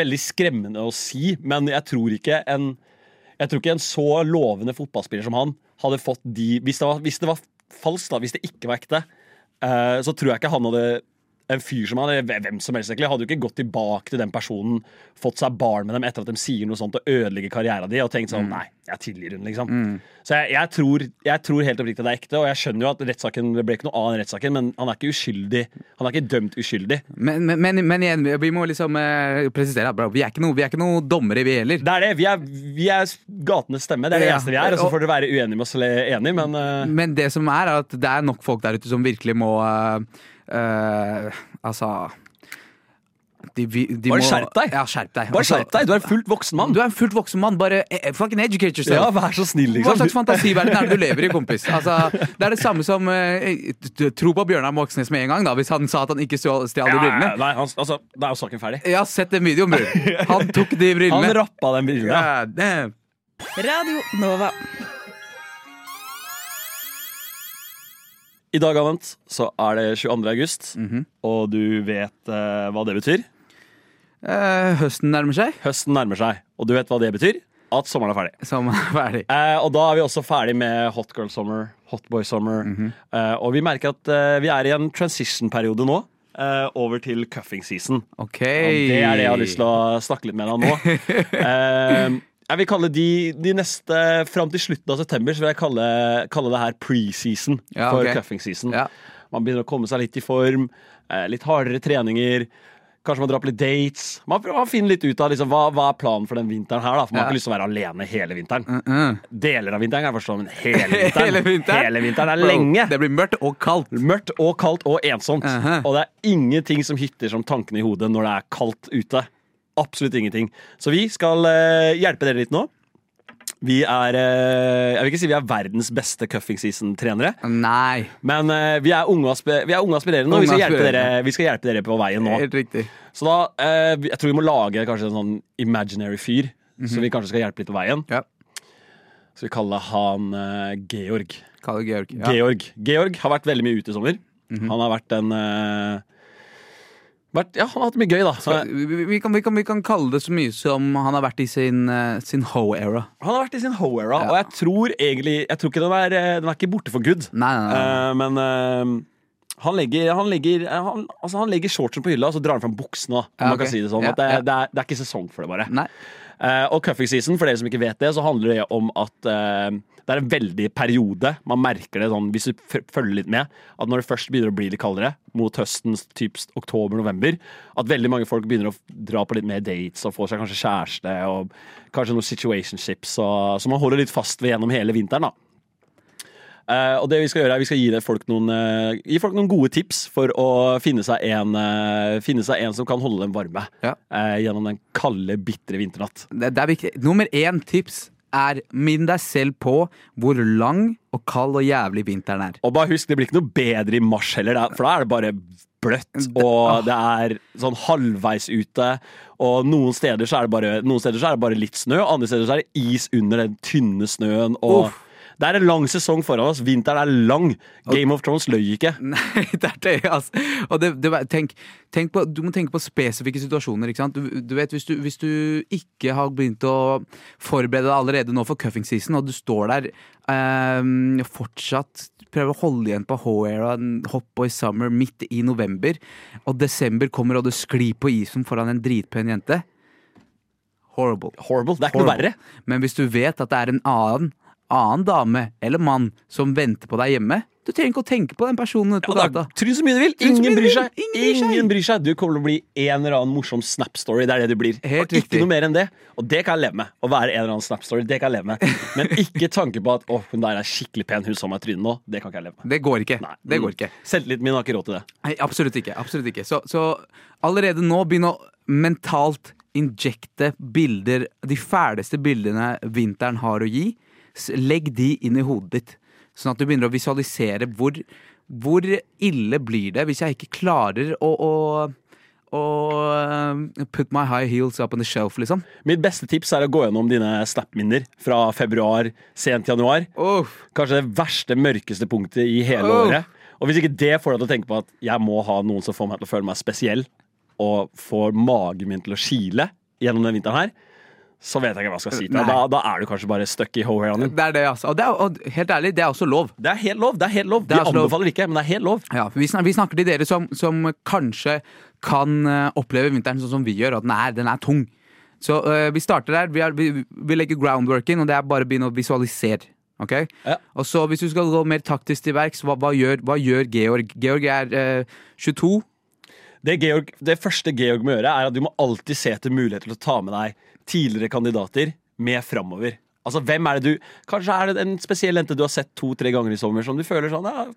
Speaker 2: veldig skremmende å si, men jeg tror ikke en Jeg tror ikke en så lovende fotballspiller som han hadde fått de Hvis det var, hvis det var falskt, da, hvis det ikke var ekte, eh, så tror jeg ikke han hadde en fyr som han, eller hvem som helst egentlig, hadde jo ikke gått tilbake til den personen, fått seg barn med dem etter at de sier noe sånt og ødelegger karrieren din, og tenkt sånn Nei, jeg tilgir hun, liksom. Så jeg, jeg, tror, jeg tror helt oppriktig at det er ekte, og jeg skjønner jo at rettssaken det ble ikke noe av den rettssaken, men han er ikke uskyldig. Han er ikke dømt uskyldig.
Speaker 4: Men, men, men, men igjen, vi- vi må liksom eh, presisere at bro, vi er ikke noe, vi er ikke noe dommere, vi heller.
Speaker 2: Det er det. Vi er, vi er gatenes stemme. Det er det
Speaker 4: Ja.
Speaker 2: eneste vi er. Og så får dere være uenige med oss eller enige, men eh,
Speaker 4: Men det som er, er at det er nok folk der ute som virkelig må øh, øh, Altså de, vi- de
Speaker 2: Bare
Speaker 4: må-
Speaker 2: skjerp deg.
Speaker 4: Ja, skjerp deg.
Speaker 2: Bare
Speaker 4: Altså,
Speaker 2: skjerp deg. Du er en fullt voksen mann.
Speaker 4: Du er en fullt voksen mann. Bare eh, fucking educate
Speaker 2: Ja,
Speaker 4: yourself.
Speaker 2: vær så snill,
Speaker 4: Hva slags
Speaker 2: liksom.
Speaker 4: fantasiverden er det du lever i, kompis? Altså, det er det samme som eh, t- tro på Bjørnar Moxnes med en gang, da, hvis han sa at han ikke stjal stjal de
Speaker 2: Ja,
Speaker 4: brillene.
Speaker 2: ja, nei, han, altså, da er jo saken ferdig.
Speaker 4: Jeg har sett den videoen, bror. Han tok de
Speaker 2: Han
Speaker 4: brillene.
Speaker 2: rappa den brilla.
Speaker 4: God damn.
Speaker 8: Radio Nova.
Speaker 2: I dag Anant, så er det 22. august,
Speaker 4: Mhm.
Speaker 2: og du vet eh, hva det betyr.
Speaker 4: Eh, høsten nærmer seg,
Speaker 2: Høsten nærmer seg, og du vet hva det betyr? At sommeren er ferdig.
Speaker 4: som er ferdig.
Speaker 2: Eh, og da er vi også ferdig med hot girl summer, hot boy summer.
Speaker 4: Mhm.
Speaker 2: eh, og vi merker at eh, vi er i en transition-periode nå, eh, over til cuffing season. Og
Speaker 4: OK.
Speaker 2: det er det jeg har lyst til å snakke litt med deg om nå. Eh, jeg vil kalle de, de neste, Fram til slutten av september så vil jeg kalle, kalle det her pre-season
Speaker 4: Ja,
Speaker 2: for
Speaker 4: ok.
Speaker 2: cuffing season.
Speaker 4: Ja.
Speaker 2: Man begynner å komme seg litt i form. eh, Litt hardere treninger. Kanskje man drar på litt dates. Man, man finner litt ut av liksom, hva, hva er planen for den vinteren her. Da? For Man har
Speaker 4: Ja.
Speaker 2: ikke lyst til å være alene hele vinteren.
Speaker 4: Mm.
Speaker 2: Deler av vinteren kan jeg forstå, men hele vinteren,
Speaker 4: Hele vinteren?
Speaker 2: Hele vinteren er
Speaker 4: Bro,
Speaker 2: lenge.
Speaker 4: Det blir mørkt og kaldt.
Speaker 2: Mørkt og kaldt og ensomt.
Speaker 4: Aha.
Speaker 2: Og det er ingenting som hytter som tankene i hodet når det er kaldt ute. Absolutt ingenting. Så vi skal eh, hjelpe dere litt nå. Vi er eh, Jeg vil ikke si vi er verdens beste cuffing season-trenere,
Speaker 4: Nei.
Speaker 2: men eh, vi er unge og aspe- vi er unge og aspirerende, og vi skal,
Speaker 4: Unge og
Speaker 2: hjelpe dere,
Speaker 4: aspirerende. Eh,
Speaker 2: vi skal hjelpe dere på veien nå.
Speaker 4: Helt riktig.
Speaker 2: Så da, eh, vi-
Speaker 4: Mhm.
Speaker 2: jeg tror vi må lage kanskje en sånn imaginary fyr, som vi kanskje skal hjelpe litt på veien.
Speaker 4: Ja.
Speaker 2: Skal vi kalle han eh, Georg.
Speaker 4: Kalle Georg. Ja. Mhm.
Speaker 2: Georg. Georg har vært veldig mye ute i sommer. Han har vært en eh, vært, Ja, han har hatt det mye gøy, da. Han
Speaker 4: Vi, vi- vi, kan, vi, kan, vi kan kalle det så mye som han har vært i sin, eh, sin ho-era.
Speaker 2: har vært i sin ho-era,
Speaker 4: Ja.
Speaker 2: og jeg tror egentlig Jeg tror ikke den er, eh, den er ikke borte for good.
Speaker 4: Nei, nei, nei.
Speaker 2: Eh, men eh, han legger, han, legger, eh, han, altså han legger shortsen på hylla, og så drar han fram buksene. da, Om
Speaker 4: Ja,
Speaker 2: man kan
Speaker 4: ok.
Speaker 2: si det sånn.
Speaker 4: Ja,
Speaker 2: at det, er-
Speaker 4: ja.
Speaker 2: det, er, det er ikke sesong for det, bare.
Speaker 4: nei.
Speaker 2: Eh, og cuffing season, for dere som ikke vet det, så handler det om at eh, det er en veldig periode. Man merker det sånn, hvis du f- følger litt med, at når det først begynner å bli litt kaldere, mot høstens typst oktober-november, at veldig mange folk begynner å f- dra på litt mer dates og får seg kanskje kjæreste og kanskje noen situationships, og, så man holder litt fast ved gjennom hele vinteren, da. Eh, og det Vi skal gjøre er vi skal gi, det folk noen, eh, gi folk noen gode tips for å finne seg en, eh, finne seg en som kan holde dem varme
Speaker 4: Ja.
Speaker 2: eh, gjennom den kalde, bitre vinternatt.
Speaker 4: Det, det er viktig. Nummer én tips er minn deg selv på hvor lang og kald og jævlig vinteren er.
Speaker 2: Og bare husk, det blir ikke noe bedre i mars heller, det er- for da er det bare bløtt, og det er sånn halvveis ute, og noen steder så er det bare, noen steder så er det bare litt snø, andre steder så er det is under den tynne snøen, og
Speaker 4: Uff.
Speaker 2: det er en lang sesong foran oss, vinteren er lang, Game of Thrones løy ikke.
Speaker 4: Nei, det er tøy, altså. Og det, det, tenk, tenk på, du må tenke på spesifikke situasjoner. Ikke sant? Du, du vet, hvis du, hvis du ikke har begynt å forberede deg allerede nå for cuffing season, og du står der eh, fortsatt prøver å holde igjen på Ho-eraen, Hotboy Summer midt i november, og desember kommer, og du sklir på isen foran en dritpen jente Horrible.
Speaker 2: Horrible, det er ikke noe
Speaker 4: Horrible.
Speaker 2: verre.
Speaker 4: Men hvis du vet at det er en annen, annen dame eller mann som venter på deg hjemme, du trenger ikke å tenke på den personen ute på
Speaker 2: Ja, da,
Speaker 4: gata.
Speaker 2: Tryn så mye du vil,
Speaker 4: Tryn så mye
Speaker 2: ingen
Speaker 4: du
Speaker 2: bryr
Speaker 4: vil.
Speaker 2: seg.
Speaker 4: Ingen bryr seg.
Speaker 2: Ingen bryr seg. Du kommer til å bli en eller annen morsom Snap-story, det er det du blir.
Speaker 4: Helt
Speaker 2: og
Speaker 4: riktig.
Speaker 2: ikke noe mer enn det. Og det kan jeg leve med. Å være en eller annen Snap-story, det kan jeg leve med. Men ikke tanke på at å, hun der er skikkelig pen, hun som er trynet nå, det kan ikke jeg leve med.
Speaker 4: Det går ikke.
Speaker 2: Nei.
Speaker 4: Det går ikke.
Speaker 2: Selvtilliten min har ikke råd til det.
Speaker 4: Nei, absolutt ikke. Absolutt ikke. Så, så allerede nå begynn å mentalt injekte bilder, de fæleste bildene vinteren har å gi. S- Legg de inn i hodet ditt, sånn at du begynner å visualisere hvor, hvor ille blir det hvis jeg ikke klarer å, å, å eh, put my high heels up on the shelf, liksom.
Speaker 2: Mitt beste tips er å gå gjennom dine Snap-minner fra februar, sent januar.
Speaker 4: Uff.
Speaker 2: Kanskje det verste, mørkeste punktet i hele
Speaker 4: Åh.
Speaker 2: året. Og hvis ikke det får deg til å tenke på at jeg må ha noen som får meg til å føle meg spesiell, og får magen min til å kile gjennom den vinteren her, så vet jeg ikke hva jeg skal si til
Speaker 4: Nei.
Speaker 2: deg. Da, da er du kanskje bare stuck i hoeraen din.
Speaker 4: Det er det, altså. Og, det er, og helt ærlig, det er også lov.
Speaker 2: Det er helt lov. det er helt lov.
Speaker 4: Det er
Speaker 2: Vi
Speaker 4: også lov.
Speaker 2: anbefaler ikke, men det er helt lov.
Speaker 4: Ja, for vi, snak vi snakker til dere som, som kanskje kan eh, oppleve vinteren sånn som vi gjør, at den er, den er tung. Så eh, vi starter der. Vi, er, vi, vi legger groundworken, og det er bare å begynne å visualisere. ok?
Speaker 2: Ja.
Speaker 4: Og så Hvis du skal gå mer taktisk til verks, hva, hva, gjør, hva gjør Georg? Georg er eh, 22.
Speaker 2: Det, Georg, det første Georg må gjøre, er at du må alltid se etter muligheter til å ta med deg tidligere kandidater med framover. Altså, hvem er det du Kanskje er det en spesiell jente du har sett to-tre ganger i sommer, som du føler sånn ja,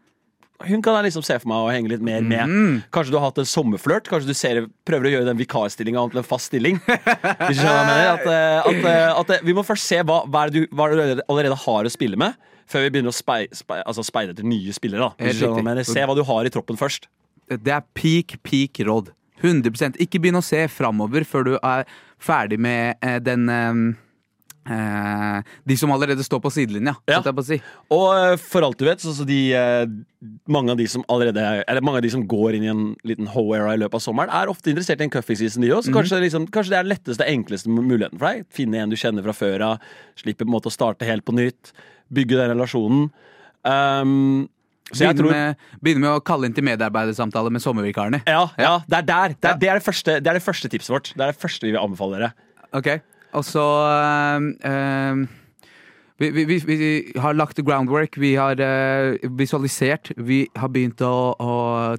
Speaker 2: Hun kan jeg liksom se for meg å henge litt mer med.
Speaker 4: Mm.
Speaker 2: Kanskje du har hatt en sommerflørt. Kanskje du ser, prøver å gjøre den vikarstillinga om til en fast stilling. Hvis du skjønner hva jeg mener. At, eh, at, eh, at, eh, vi må først se hva, hva, er det du, hva er det du allerede- allerede har å spille med, før vi begynner å spei, spei, altså speide etter nye spillere. Da. Hvis du
Speaker 4: Helt
Speaker 2: skjønner hva jeg
Speaker 4: riktig.
Speaker 2: mener. Se hva du har i troppen først.
Speaker 4: Det er peak, peak råd. 100 Ikke begynn å se framover før du er ferdig med eh, den eh, eh, De som allerede står på sidelinja,
Speaker 2: Ja.
Speaker 4: holdt jeg på å si.
Speaker 2: Og eh, for alt du vet, så, så de, eh, mange, av de som allerede, eller mange av de som går inn i en liten ho-era i løpet av sommeren, er ofte interessert i en cuffing season, de også. Kanskje, liksom, kanskje det er den letteste, enkleste muligheten for deg. Finne en du kjenner fra før av. Slippe på en måte å starte helt på nytt. Bygge den relasjonen. Um, så jeg
Speaker 4: Begynne,
Speaker 2: tror
Speaker 4: med, begynne med å kalle inn til medarbeidersamtale med sommervikarene.
Speaker 2: ja, ja, det er der. Det er det, er det, første, det er det første tipset vårt. Det er det første vi vil anbefale dere.
Speaker 4: Ok, Og så øhm, øhm, vi, vi, vi, vi har lagt the groundwork, vi har øh, visualisert. Vi har begynt å, å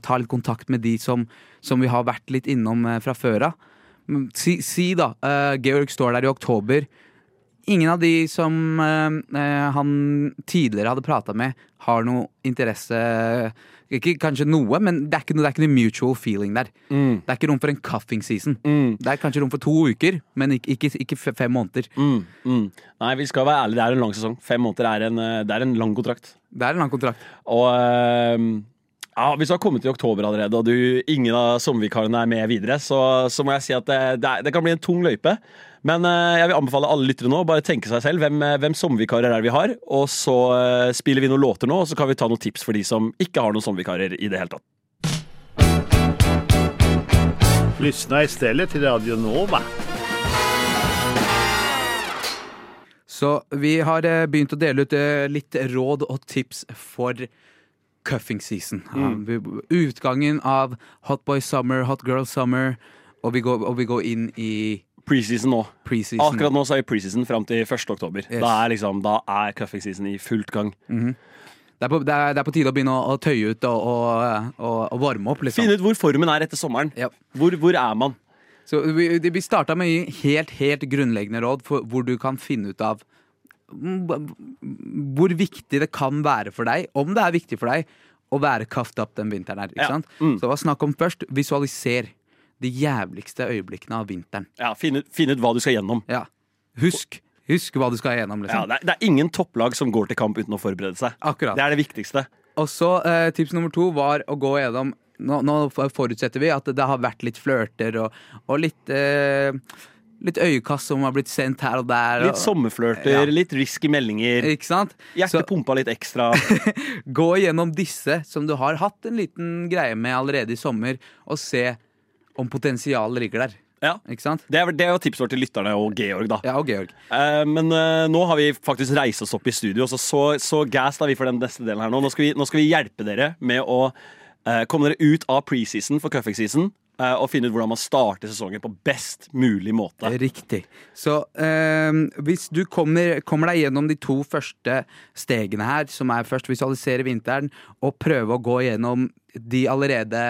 Speaker 4: ta litt kontakt med de som, som vi har vært litt innom øh, fra før av. Men Si, si da, øh, Georg står der i oktober. Ingen av de som øh, øh, han tidligere hadde prata med, har noe interesse ikke, Kanskje noe, men det er ikke noe, det er ikke noe mutual feeling der. Det er ikke rom for en cuffing season. Det er kanskje rom for to uker, men ikke, ikke, ikke f- fem måneder.
Speaker 2: Mm, mm. Nei, vi skal være ærlige. Det er en lang sesong. Fem måneder er en, eh, det er en lang kontrakt.
Speaker 4: Det er en lang kontrakt.
Speaker 2: Og, eh, ja, Hvis du har kommet i oktober allerede, og du, ingen av sommervikarene er med videre, så, så må jeg si at det, det, er, det kan bli en tung løype. Men eh, jeg vil anbefale alle lyttere nå å bare tenke seg selv hvem, eh, hvem sommervikarer er det vi har. Og så eh, spiller vi noen låter nå, og så kan vi ta noen tips for de som ikke har noen sommervikarer i det hele tatt.
Speaker 9: Lyssna istället till Radio Nova.
Speaker 4: Så vi har eh, begynt å dele ut eh, litt råd og tips for cuffing season.
Speaker 2: Mm.
Speaker 4: Ja, vi- Utgangen av Hot Boy Summer, Hot Girl Summer, og vi går, og vi går inn i
Speaker 2: Preseason nå.
Speaker 4: preseason.
Speaker 2: Akkurat nå så er vi preseason fram til 1. oktober.
Speaker 4: Yes.
Speaker 2: Da er, liksom, da er cuffing season i fullt gang.
Speaker 4: Det, er på, det, er, det er på tide å begynne å, å tøye ut og, og, og, og varme opp, liksom.
Speaker 2: Finne ut hvor formen er etter sommeren.
Speaker 4: Ja.
Speaker 2: Hvor, hvor er man?
Speaker 4: Så vi, vi starta med å gi helt, helt grunnleggende råd for hvor du kan finne ut av mm, hvor viktig det kan være for deg, om det er viktig for deg, å være kaft opp den vinteren her. Ikke
Speaker 2: Ja,
Speaker 4: sant?
Speaker 2: mm.
Speaker 4: Så hva snakk om først? Visualiser de jævligste øyeblikkene av vinteren.
Speaker 2: Ja, Finne ut, finne ut hva du skal gjennom.
Speaker 4: Ja. Husk, husk hva du skal gjennom,
Speaker 2: Ja,
Speaker 4: liksom.
Speaker 2: det, er, det er ingen topplag som går til kamp uten å forberede seg.
Speaker 4: Akkurat.
Speaker 2: Det er det viktigste.
Speaker 4: Og så eh, tips nummer to var å gå gjennom Nå, nå forutsetter vi at det har vært litt flørter og, og litt eh, Litt øyekast som har blitt sendt her og der.
Speaker 2: Litt
Speaker 4: og-
Speaker 2: sommerflørter,
Speaker 4: Ja.
Speaker 2: litt risky meldinger.
Speaker 4: Ikke sant?
Speaker 2: Hjertet pumpa litt ekstra.
Speaker 4: Gå igjennom disse som du har hatt en liten greie med allerede i sommer, og se om potensialet ligger der.
Speaker 2: Ja.
Speaker 4: Ikke sant?
Speaker 2: Det er, det er jo tipset vårt til lytterne og Georg, da.
Speaker 4: Ja, og Georg.
Speaker 2: Eh, men eh, nå har vi faktisk reist oss opp i studio, så så, så gassed er vi for den neste delen her nå. Nå skal vi, nå skal vi hjelpe dere med å eh, komme dere ut av preseason for cuffing season. eh, og finne ut hvordan man starter sesongen på best mulig måte.
Speaker 4: Riktig. Så ehm, hvis du kommer, kommer deg gjennom de to første stegene her, som er først visualisere vinteren, og prøve å gå gjennom de allerede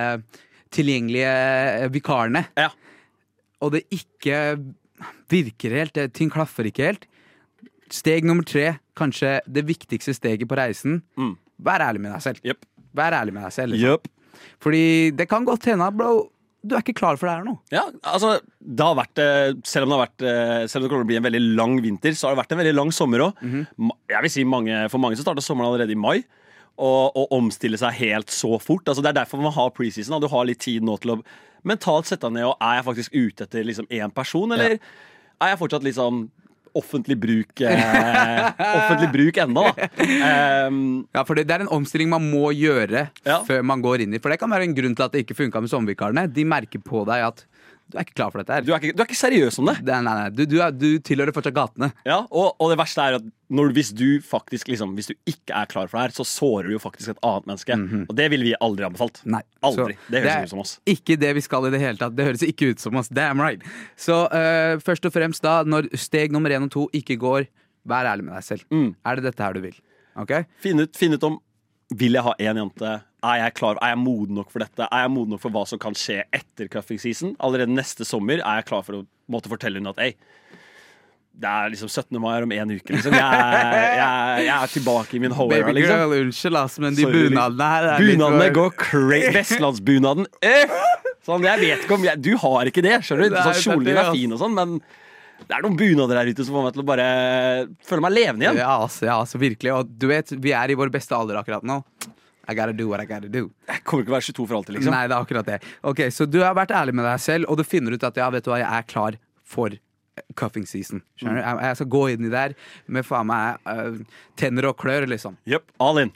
Speaker 4: tilgjengelige vikarene,
Speaker 2: Ja.
Speaker 4: og det ikke virker helt, det- ting klaffer ikke helt Steg nummer tre, kanskje det viktigste steget på reisen.
Speaker 2: Mm.
Speaker 4: Vær ærlig med deg selv.
Speaker 2: Jep.
Speaker 4: Vær ærlig med deg selv. Liksom.
Speaker 2: Yep.
Speaker 4: Fordi det kan godt hende, at, bro. Du er ikke klar for det her nå.
Speaker 2: Ja, altså, det har vært, eh, selv, om det har vært eh, selv om det kommer til å bli en veldig lang vinter, så har det vært en veldig lang sommer òg. Jeg vil si mange, For mange så starter sommeren allerede i mai. Og, og omstille seg helt så fort. Altså, det er derfor man har preseason. da. Du har litt tid nå til å mentalt sette deg ned. og Er jeg faktisk ute etter liksom én person, eller er jeg fortsatt litt sånn offentlig bruk eh, Offentlig bruk ennå, da. Ehm,
Speaker 4: Ja, for det, det er en omstilling man må gjøre
Speaker 2: Ja.
Speaker 4: før man går inn i. For det kan være en grunn til at det ikke funka med sommervikarene. De merker på deg at du er ikke klar for dette her.
Speaker 2: du, er ikke, du er ikke seriøs om det.
Speaker 4: Det er- nei, nei, du, du, er, du tilhører fortsatt gatene.
Speaker 2: Ja, og, og det verste er at når, hvis du faktisk liksom, Hvis du ikke er klar for det her, så sårer du jo faktisk et annet menneske. Og det ville vi aldri anbefalt.
Speaker 4: Mhm. Nei.
Speaker 2: Aldri.
Speaker 4: Så
Speaker 2: det høres
Speaker 4: er
Speaker 2: ut som oss.
Speaker 4: Ikke det vi skal i det hele tatt. Det høres ikke ut som oss. Damn right. Så eh, først og fremst da, når steg nummer én og to ikke går, vær ærlig med deg selv.
Speaker 2: Mm.
Speaker 4: Er det dette her du vil? Ok?
Speaker 2: Finn ut, finn ut om Vil jeg ha én jente? Er jeg klar? Er jeg moden nok for dette? Er jeg moden nok for hva som kan skje etter cuffing season? Allerede neste sommer er jeg klar for å måtte fortelle henne at ei, det er liksom 17. mai om én uke. Liksom. Jeg, er- jeg, er- jeg er tilbake i min hoera.
Speaker 4: Baby
Speaker 2: Liksom.
Speaker 4: girl, unnskyld, ass, men de
Speaker 2: Sorry.
Speaker 4: bunadene her er litt
Speaker 2: Bunadene
Speaker 4: for-
Speaker 2: går crazy. Vestlandsbunaden. Eh! Sånn, jeg vet ikke om jeg, Du har ikke det, skjønner du.
Speaker 4: Nei,
Speaker 2: Sånn, kjolen din
Speaker 4: det altså. er
Speaker 2: er
Speaker 4: det,
Speaker 2: fin og sånn, men det er noen bunader der ute som får meg til å bare føle meg levende igjen.
Speaker 4: Ja, altså, ja, altså, virkelig. Og du vet, vi er i vår beste alder akkurat nå. I gotta do what I gotta do.
Speaker 2: Jeg kommer ikke å være 22 for alltid, liksom.
Speaker 4: Nei, det er akkurat det. Ok, Så du har vært ærlig med deg selv, og du finner ut at ja, vet du hva, jeg er klar for cuffing season. Skjønner du? Jeg,
Speaker 2: Mm.
Speaker 4: jeg skal gå inn i der med faen meg eh, tenner og klør, liksom.
Speaker 2: Jøp, all in.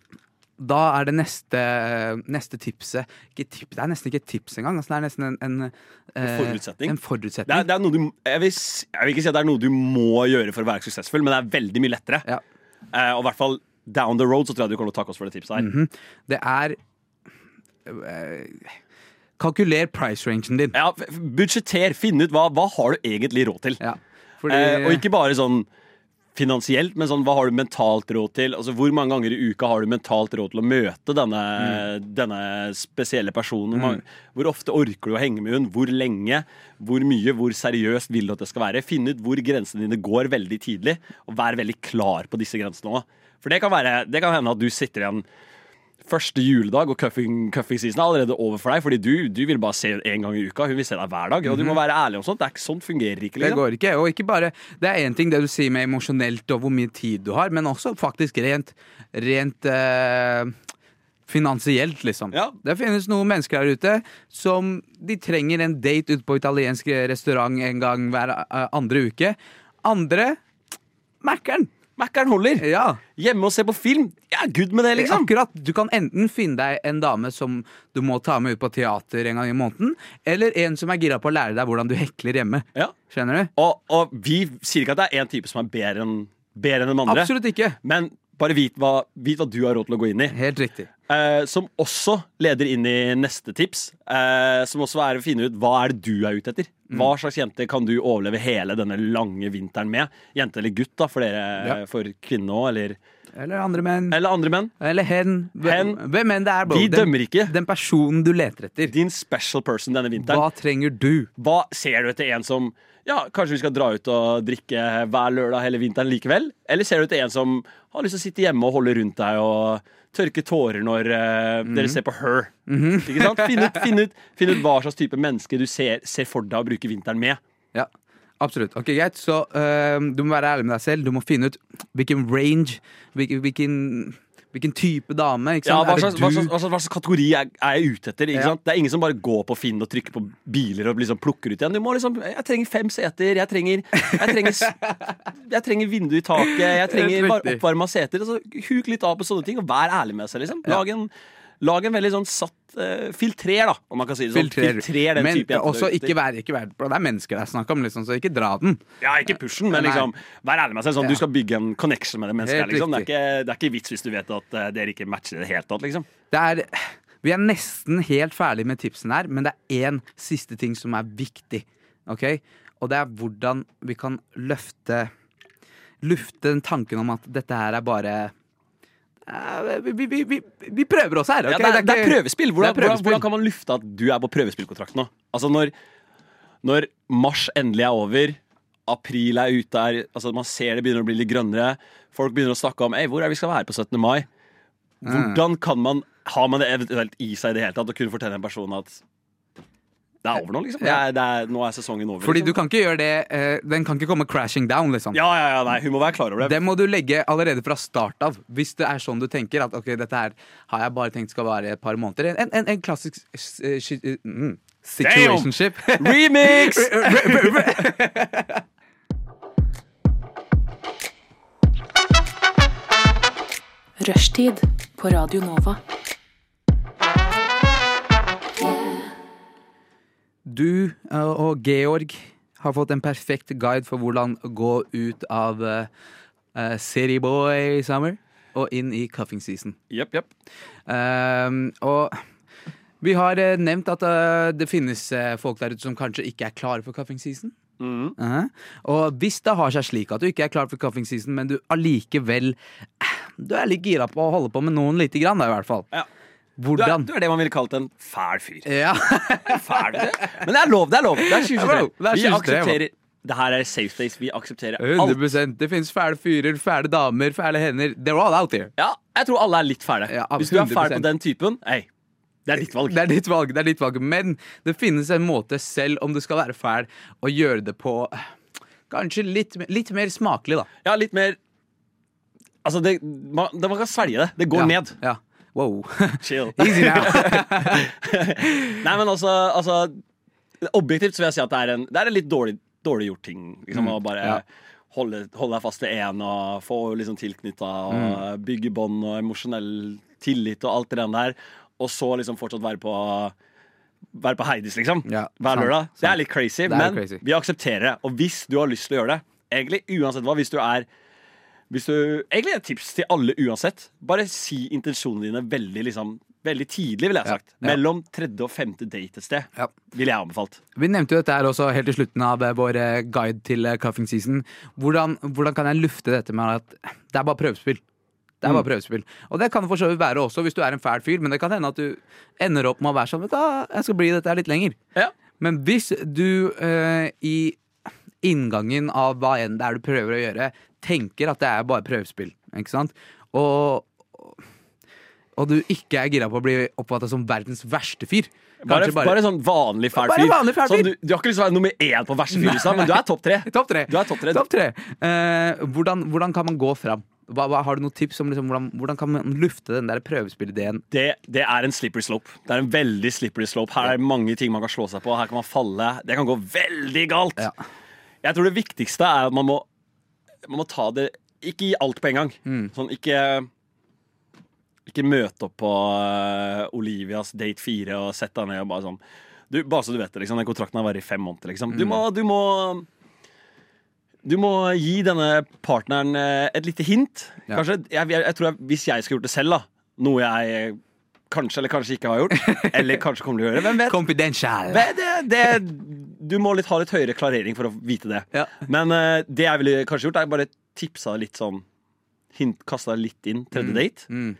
Speaker 4: Da er det neste, eh, neste tipset ikke tip, Det er nesten ikke et tips engang. Altså, det er nesten en, en, eh,
Speaker 2: forutsetning.
Speaker 4: En forutsetning.
Speaker 2: Det er, det er noe du, jeg, vil, s- jeg vil ikke si at det er noe du må gjøre for å være suksessfull, men det er veldig mye lettere.
Speaker 4: Ja.
Speaker 2: Eh, og i hvert fall down the road så tror jeg du kommer til å takke oss for det tipset her.
Speaker 4: Mhm. Det er eh, Kalkuler price rangen din.
Speaker 2: Ja, f- f- Budsjetter. Finn ut hva, hva har du egentlig råd til.
Speaker 4: Ja, fordi-
Speaker 2: Eh, og ikke bare sånn finansielt, men sånn, hva har du mentalt råd til? Altså, Hvor mange ganger i uka har du mentalt råd til å møte denne, denne spesielle personen? Hvor mange- Hvor ofte orker du å henge med hun? Hvor lenge? Hvor mye? Hvor seriøst vil du at det skal være? Finn ut hvor grensene dine går veldig tidlig, og vær veldig klar på disse grensene også. For det kan, være, det kan hende at du sitter igjen første juledag, og cuffing, cuffing season er allerede over for deg, fordi du, du vil bare se henne én gang i uka. Hun vil se deg hver dag, og du må være ærlig om sånt. Det er ikke, sånn fungerer ikke.
Speaker 4: Det
Speaker 2: Liksom.
Speaker 4: går ikke. Og ikke bare Det er én ting det du sier med emosjonelt og hvor mye tid du har, men også faktisk rent Rent eh, finansielt, liksom.
Speaker 2: Ja.
Speaker 4: Det finnes noen mennesker der ute som de trenger en date ute på italiensk restaurant en gang hver eh, andre uke. Andre Mækkern!
Speaker 2: Mækkern holder.
Speaker 4: Ja.
Speaker 2: Hjemme og se på film. Jeg er good med det, liksom.
Speaker 4: Akkurat. Du kan enten finne deg en dame som du må ta med ut på teater en gang i måneden, eller en som er gira på å lære deg hvordan du hekler hjemme.
Speaker 2: Ja.
Speaker 4: Skjønner du?
Speaker 2: Og, og vi sier ikke at det er én type som er bedre enn bedre enn den andre,
Speaker 4: Absolutt ikke.
Speaker 2: men bare vit hva, vit hva du har råd til å gå inn i.
Speaker 4: Helt riktig.
Speaker 2: Eh, som også leder inn i neste tips, eh, som også er å finne ut hva er det du er ute etter.
Speaker 4: Mm.
Speaker 2: Hva slags jente kan du overleve hele denne lange vinteren med? Jente eller gutt, da, for, dere,
Speaker 4: Ja.
Speaker 2: for kvinne òg, eller,
Speaker 4: Eller andre menn.
Speaker 2: eller andre menn.
Speaker 4: Eller hen. Hvem,
Speaker 2: Hen.
Speaker 4: hvem enn det er. bro.
Speaker 2: Vi
Speaker 4: Den-
Speaker 2: dømmer ikke.
Speaker 4: Den personen du leter etter.
Speaker 2: Din special person denne vinteren.
Speaker 4: Hva trenger du?
Speaker 2: Hva ser du etter en som ja, Kanskje vi skal dra ut og drikke hver lørdag hele vinteren likevel? Eller ser du etter en som har lyst til å sitte hjemme og holde rundt deg og tørke tårer når eh, dere ser på Her? Ikke sant? Finn ut, finn, ut, finn ut hva slags type menneske du ser, ser for deg å bruke vinteren med.
Speaker 4: Ja, absolutt. Ok, greit. Så øhm, du må være ærlig med deg selv. Du må finne ut hvilken range, hvilken, hvilken, hvilken type dame. Ikke
Speaker 2: Ja,
Speaker 4: sant?
Speaker 2: hva,
Speaker 4: Er det
Speaker 2: slags, hva,
Speaker 4: du-
Speaker 2: slags, hva, slags, hva slags kategori er, er jeg ute etter? Ikke
Speaker 4: Ja.
Speaker 2: sant? Det er ingen som bare går på Finn og trykker på biler og liksom plukker ut igjen. Du må liksom, Jeg trenger fem seter, jeg trenger, jeg trenger, s- jeg trenger vindu i taket, jeg trenger
Speaker 4: Helt
Speaker 2: bare
Speaker 4: riktig.
Speaker 2: oppvarma seter. Altså, huk litt av på sånne ting, og vær ærlig med seg. liksom Lag en, lag en veldig sånn satt eh, Filtrer, da, om man kan si det sånn.
Speaker 4: Filtrer.
Speaker 2: Filtrer, den
Speaker 4: men
Speaker 2: type jenter du
Speaker 4: også
Speaker 2: er ute
Speaker 4: ikke
Speaker 2: etter.
Speaker 4: vær, ikke vær Det er mennesker det er snakk om, liksom, så ikke dra den.
Speaker 2: Ja, ikke pushen, men
Speaker 4: Nei.
Speaker 2: liksom vær ærlig med seg. Sånn,
Speaker 4: Ja.
Speaker 2: Du skal bygge en connection med det mennesket. her,
Speaker 4: Helt
Speaker 2: Liksom. Det,
Speaker 4: riktig.
Speaker 2: er ikke, det er ikke vits hvis du vet at eh, dere ikke matcher i det hele tatt. liksom
Speaker 4: Det er, vi er nesten helt ferdig med tipsene her, men det er én siste ting som er viktig. ok? Og det er hvordan vi kan løfte Lufte den tanken om at dette her er bare Eh, vi, vi, vi, vi, vi prøver oss her. ok?
Speaker 2: Ja, det, er, det er
Speaker 4: ikke-
Speaker 2: prøvespill. Hvordan,
Speaker 4: Det er prøvespill.
Speaker 2: Hvordan, hvordan kan man lufte at du er på prøvespillkontrakt nå? Altså når, når mars endelig er over, april er ute her, altså man ser det begynner å bli litt grønnere, folk begynner å snakke om Ei, hvor er vi skal være på 17. mai. Hvordan kan man Har man det eventuelt i seg i det hele tatt å kunne fortelle en person at det er over nå, liksom? Det er, det er, nå er sesongen over.
Speaker 4: Fordi
Speaker 2: liksom.
Speaker 4: du kan ikke gjøre det eh, Den kan ikke komme crashing down, liksom.
Speaker 2: Ja, ja, ja, nei, hun må være klar over det.
Speaker 4: Det må du legge allerede fra start av. Hvis det er sånn du tenker at ok, dette her har jeg bare tenkt skal vare et par måneder. En, en, en klassisk s- eh, shi- eh, mm, situationship. Eh,
Speaker 2: Remix!
Speaker 1: Rushtid på Radio Nova.
Speaker 4: Du eh, og Georg har fått en perfekt guide for hvordan gå ut av eh, eh, City Boy Summer og inn i cuffing season.
Speaker 2: Jepp, jepp.
Speaker 4: Ehm, og vi har eh, nevnt at eh, det finnes eh, folk der ute som kanskje ikke er klare for cuffing season.
Speaker 2: Mm-hmm.
Speaker 4: Eh, Og hvis det har seg slik at du ikke er klar for cuffing season, men du allikevel eh, Du er litt gira på å holde på med noen lite grann, da, i hvert fall.
Speaker 2: Ja. Du, er-
Speaker 4: Hvordan?
Speaker 2: du er det man ville kalt en fæl fyr.
Speaker 4: Ja.
Speaker 2: fæl du er. Men det er lov, det er lov. Det er 2023.
Speaker 4: Bro, det er
Speaker 2: Vi
Speaker 4: 2023,
Speaker 2: aksepterer Det her er safe space. Vi aksepterer alt.
Speaker 4: 100 Det finnes fæle fyrer, fæle damer, fæle hender. They're all out there.
Speaker 2: Ja, jeg tror alle er litt fæle.
Speaker 4: Ja,
Speaker 2: Hvis du er fæl
Speaker 4: 100%.
Speaker 2: på den typen, ei, det er ditt valg.
Speaker 4: Det er ditt valg. det er ditt valg Men det finnes en måte, selv om du skal være fæl, å gjøre det på eh, kanskje litt, litt mer smakelig, da.
Speaker 2: Ja, litt mer Altså, det, man, det, man kan svelge det. Det går
Speaker 4: ja.
Speaker 2: ned.
Speaker 4: Ja. Wow.
Speaker 2: Chill.
Speaker 4: Easy now.
Speaker 2: Nei, men altså, altså Objektivt så vil jeg si at det er en, det er en litt dårlig, dårlig gjort ting. Liksom, å bare
Speaker 4: Mm, ja.
Speaker 2: holde, holde deg fast ved én og få liksom, tilknytta og
Speaker 4: Mm.
Speaker 2: bygge bånd og emosjonell tillit og alt det der. Og så liksom fortsatt være på være på Heidis, liksom.
Speaker 4: Ja,
Speaker 2: Hver
Speaker 4: sant,
Speaker 2: lørdag. Det
Speaker 4: sant.
Speaker 2: er litt crazy,
Speaker 4: er
Speaker 2: men
Speaker 4: crazy.
Speaker 2: vi aksepterer det. Og hvis du har lyst til å gjøre det, egentlig uansett hva, hvis du er hvis du, Egentlig et tips til alle uansett. Bare si intensjonene dine veldig, liksom, veldig tidlig, ville jeg
Speaker 4: Ja,
Speaker 2: sagt.
Speaker 4: ja.
Speaker 2: Mellom tredje og femte date et sted.
Speaker 4: Ja.
Speaker 2: Ville jeg anbefalt.
Speaker 4: Vi nevnte jo dette her også helt til slutten av eh, vår eh, guide til eh, cuffing season. Hvordan, hvordan kan jeg lufte dette med at det er bare prøvespill? Det er bare prøvespill. Og det kan det for så vidt være også hvis du er en fæl fyr, men det kan hende at du ender opp med å være sånn Vet du, hva, jeg skal bli i dette her litt lenger.
Speaker 2: Ja.
Speaker 4: Men hvis du eh, i inngangen av hva enn det er du prøver å gjøre, tenker at det er bare prøvespill, ikke sant? Og, og du ikke er gira på å bli oppfatta som verdens verste fyr.
Speaker 2: Bare,
Speaker 4: Kanskje
Speaker 2: bare, sånn vanlig fæl
Speaker 4: Bare
Speaker 2: fyr.
Speaker 4: vanlig fæl
Speaker 2: Sånn,
Speaker 4: fyr.
Speaker 2: du, du har ikke lyst til å være nummer én på verste fyr, i USA, men du er topp tre.
Speaker 4: Topp tre.
Speaker 2: Du er topp tre.
Speaker 4: Topp tre. Eh, hvordan, hvordan kan man gå fram? Hva, hva, har du noen tips om liksom, hvordan, hvordan kan man lufte den der prøvespillideen?
Speaker 2: det, det er en slippery slope. Det er en veldig slippery slope. Her er det mange ting man kan slå seg på. Her kan man falle. Det kan gå veldig galt.
Speaker 4: Ja.
Speaker 2: Jeg tror det viktigste er at man må, man må ta det Ikke gi alt på en gang. Sånn, ikke Ikke møte opp på eh, Olivias date fire og sett deg ned og bare sånn du, Bare så du vet det, liksom. Den kontrakten har vært i fem måneder, liksom. Du må, du må du må gi denne partneren eh, et lite hint.
Speaker 4: Ja.
Speaker 2: Kanskje, jeg, jeg, jeg tror jeg, Hvis jeg skulle gjort det selv, da noe jeg kanskje eller kanskje ikke har gjort, eller kanskje kommer til å gjøre, hvem vet?
Speaker 4: Confidential!
Speaker 2: Vet Det, det, du må litt, ha litt høyere klarering for å vite det.
Speaker 4: Ja.
Speaker 2: Men eh, det jeg ville kanskje gjort, er bare tipsa litt sånn hint, Kasta litt inn tredje date.
Speaker 4: mm.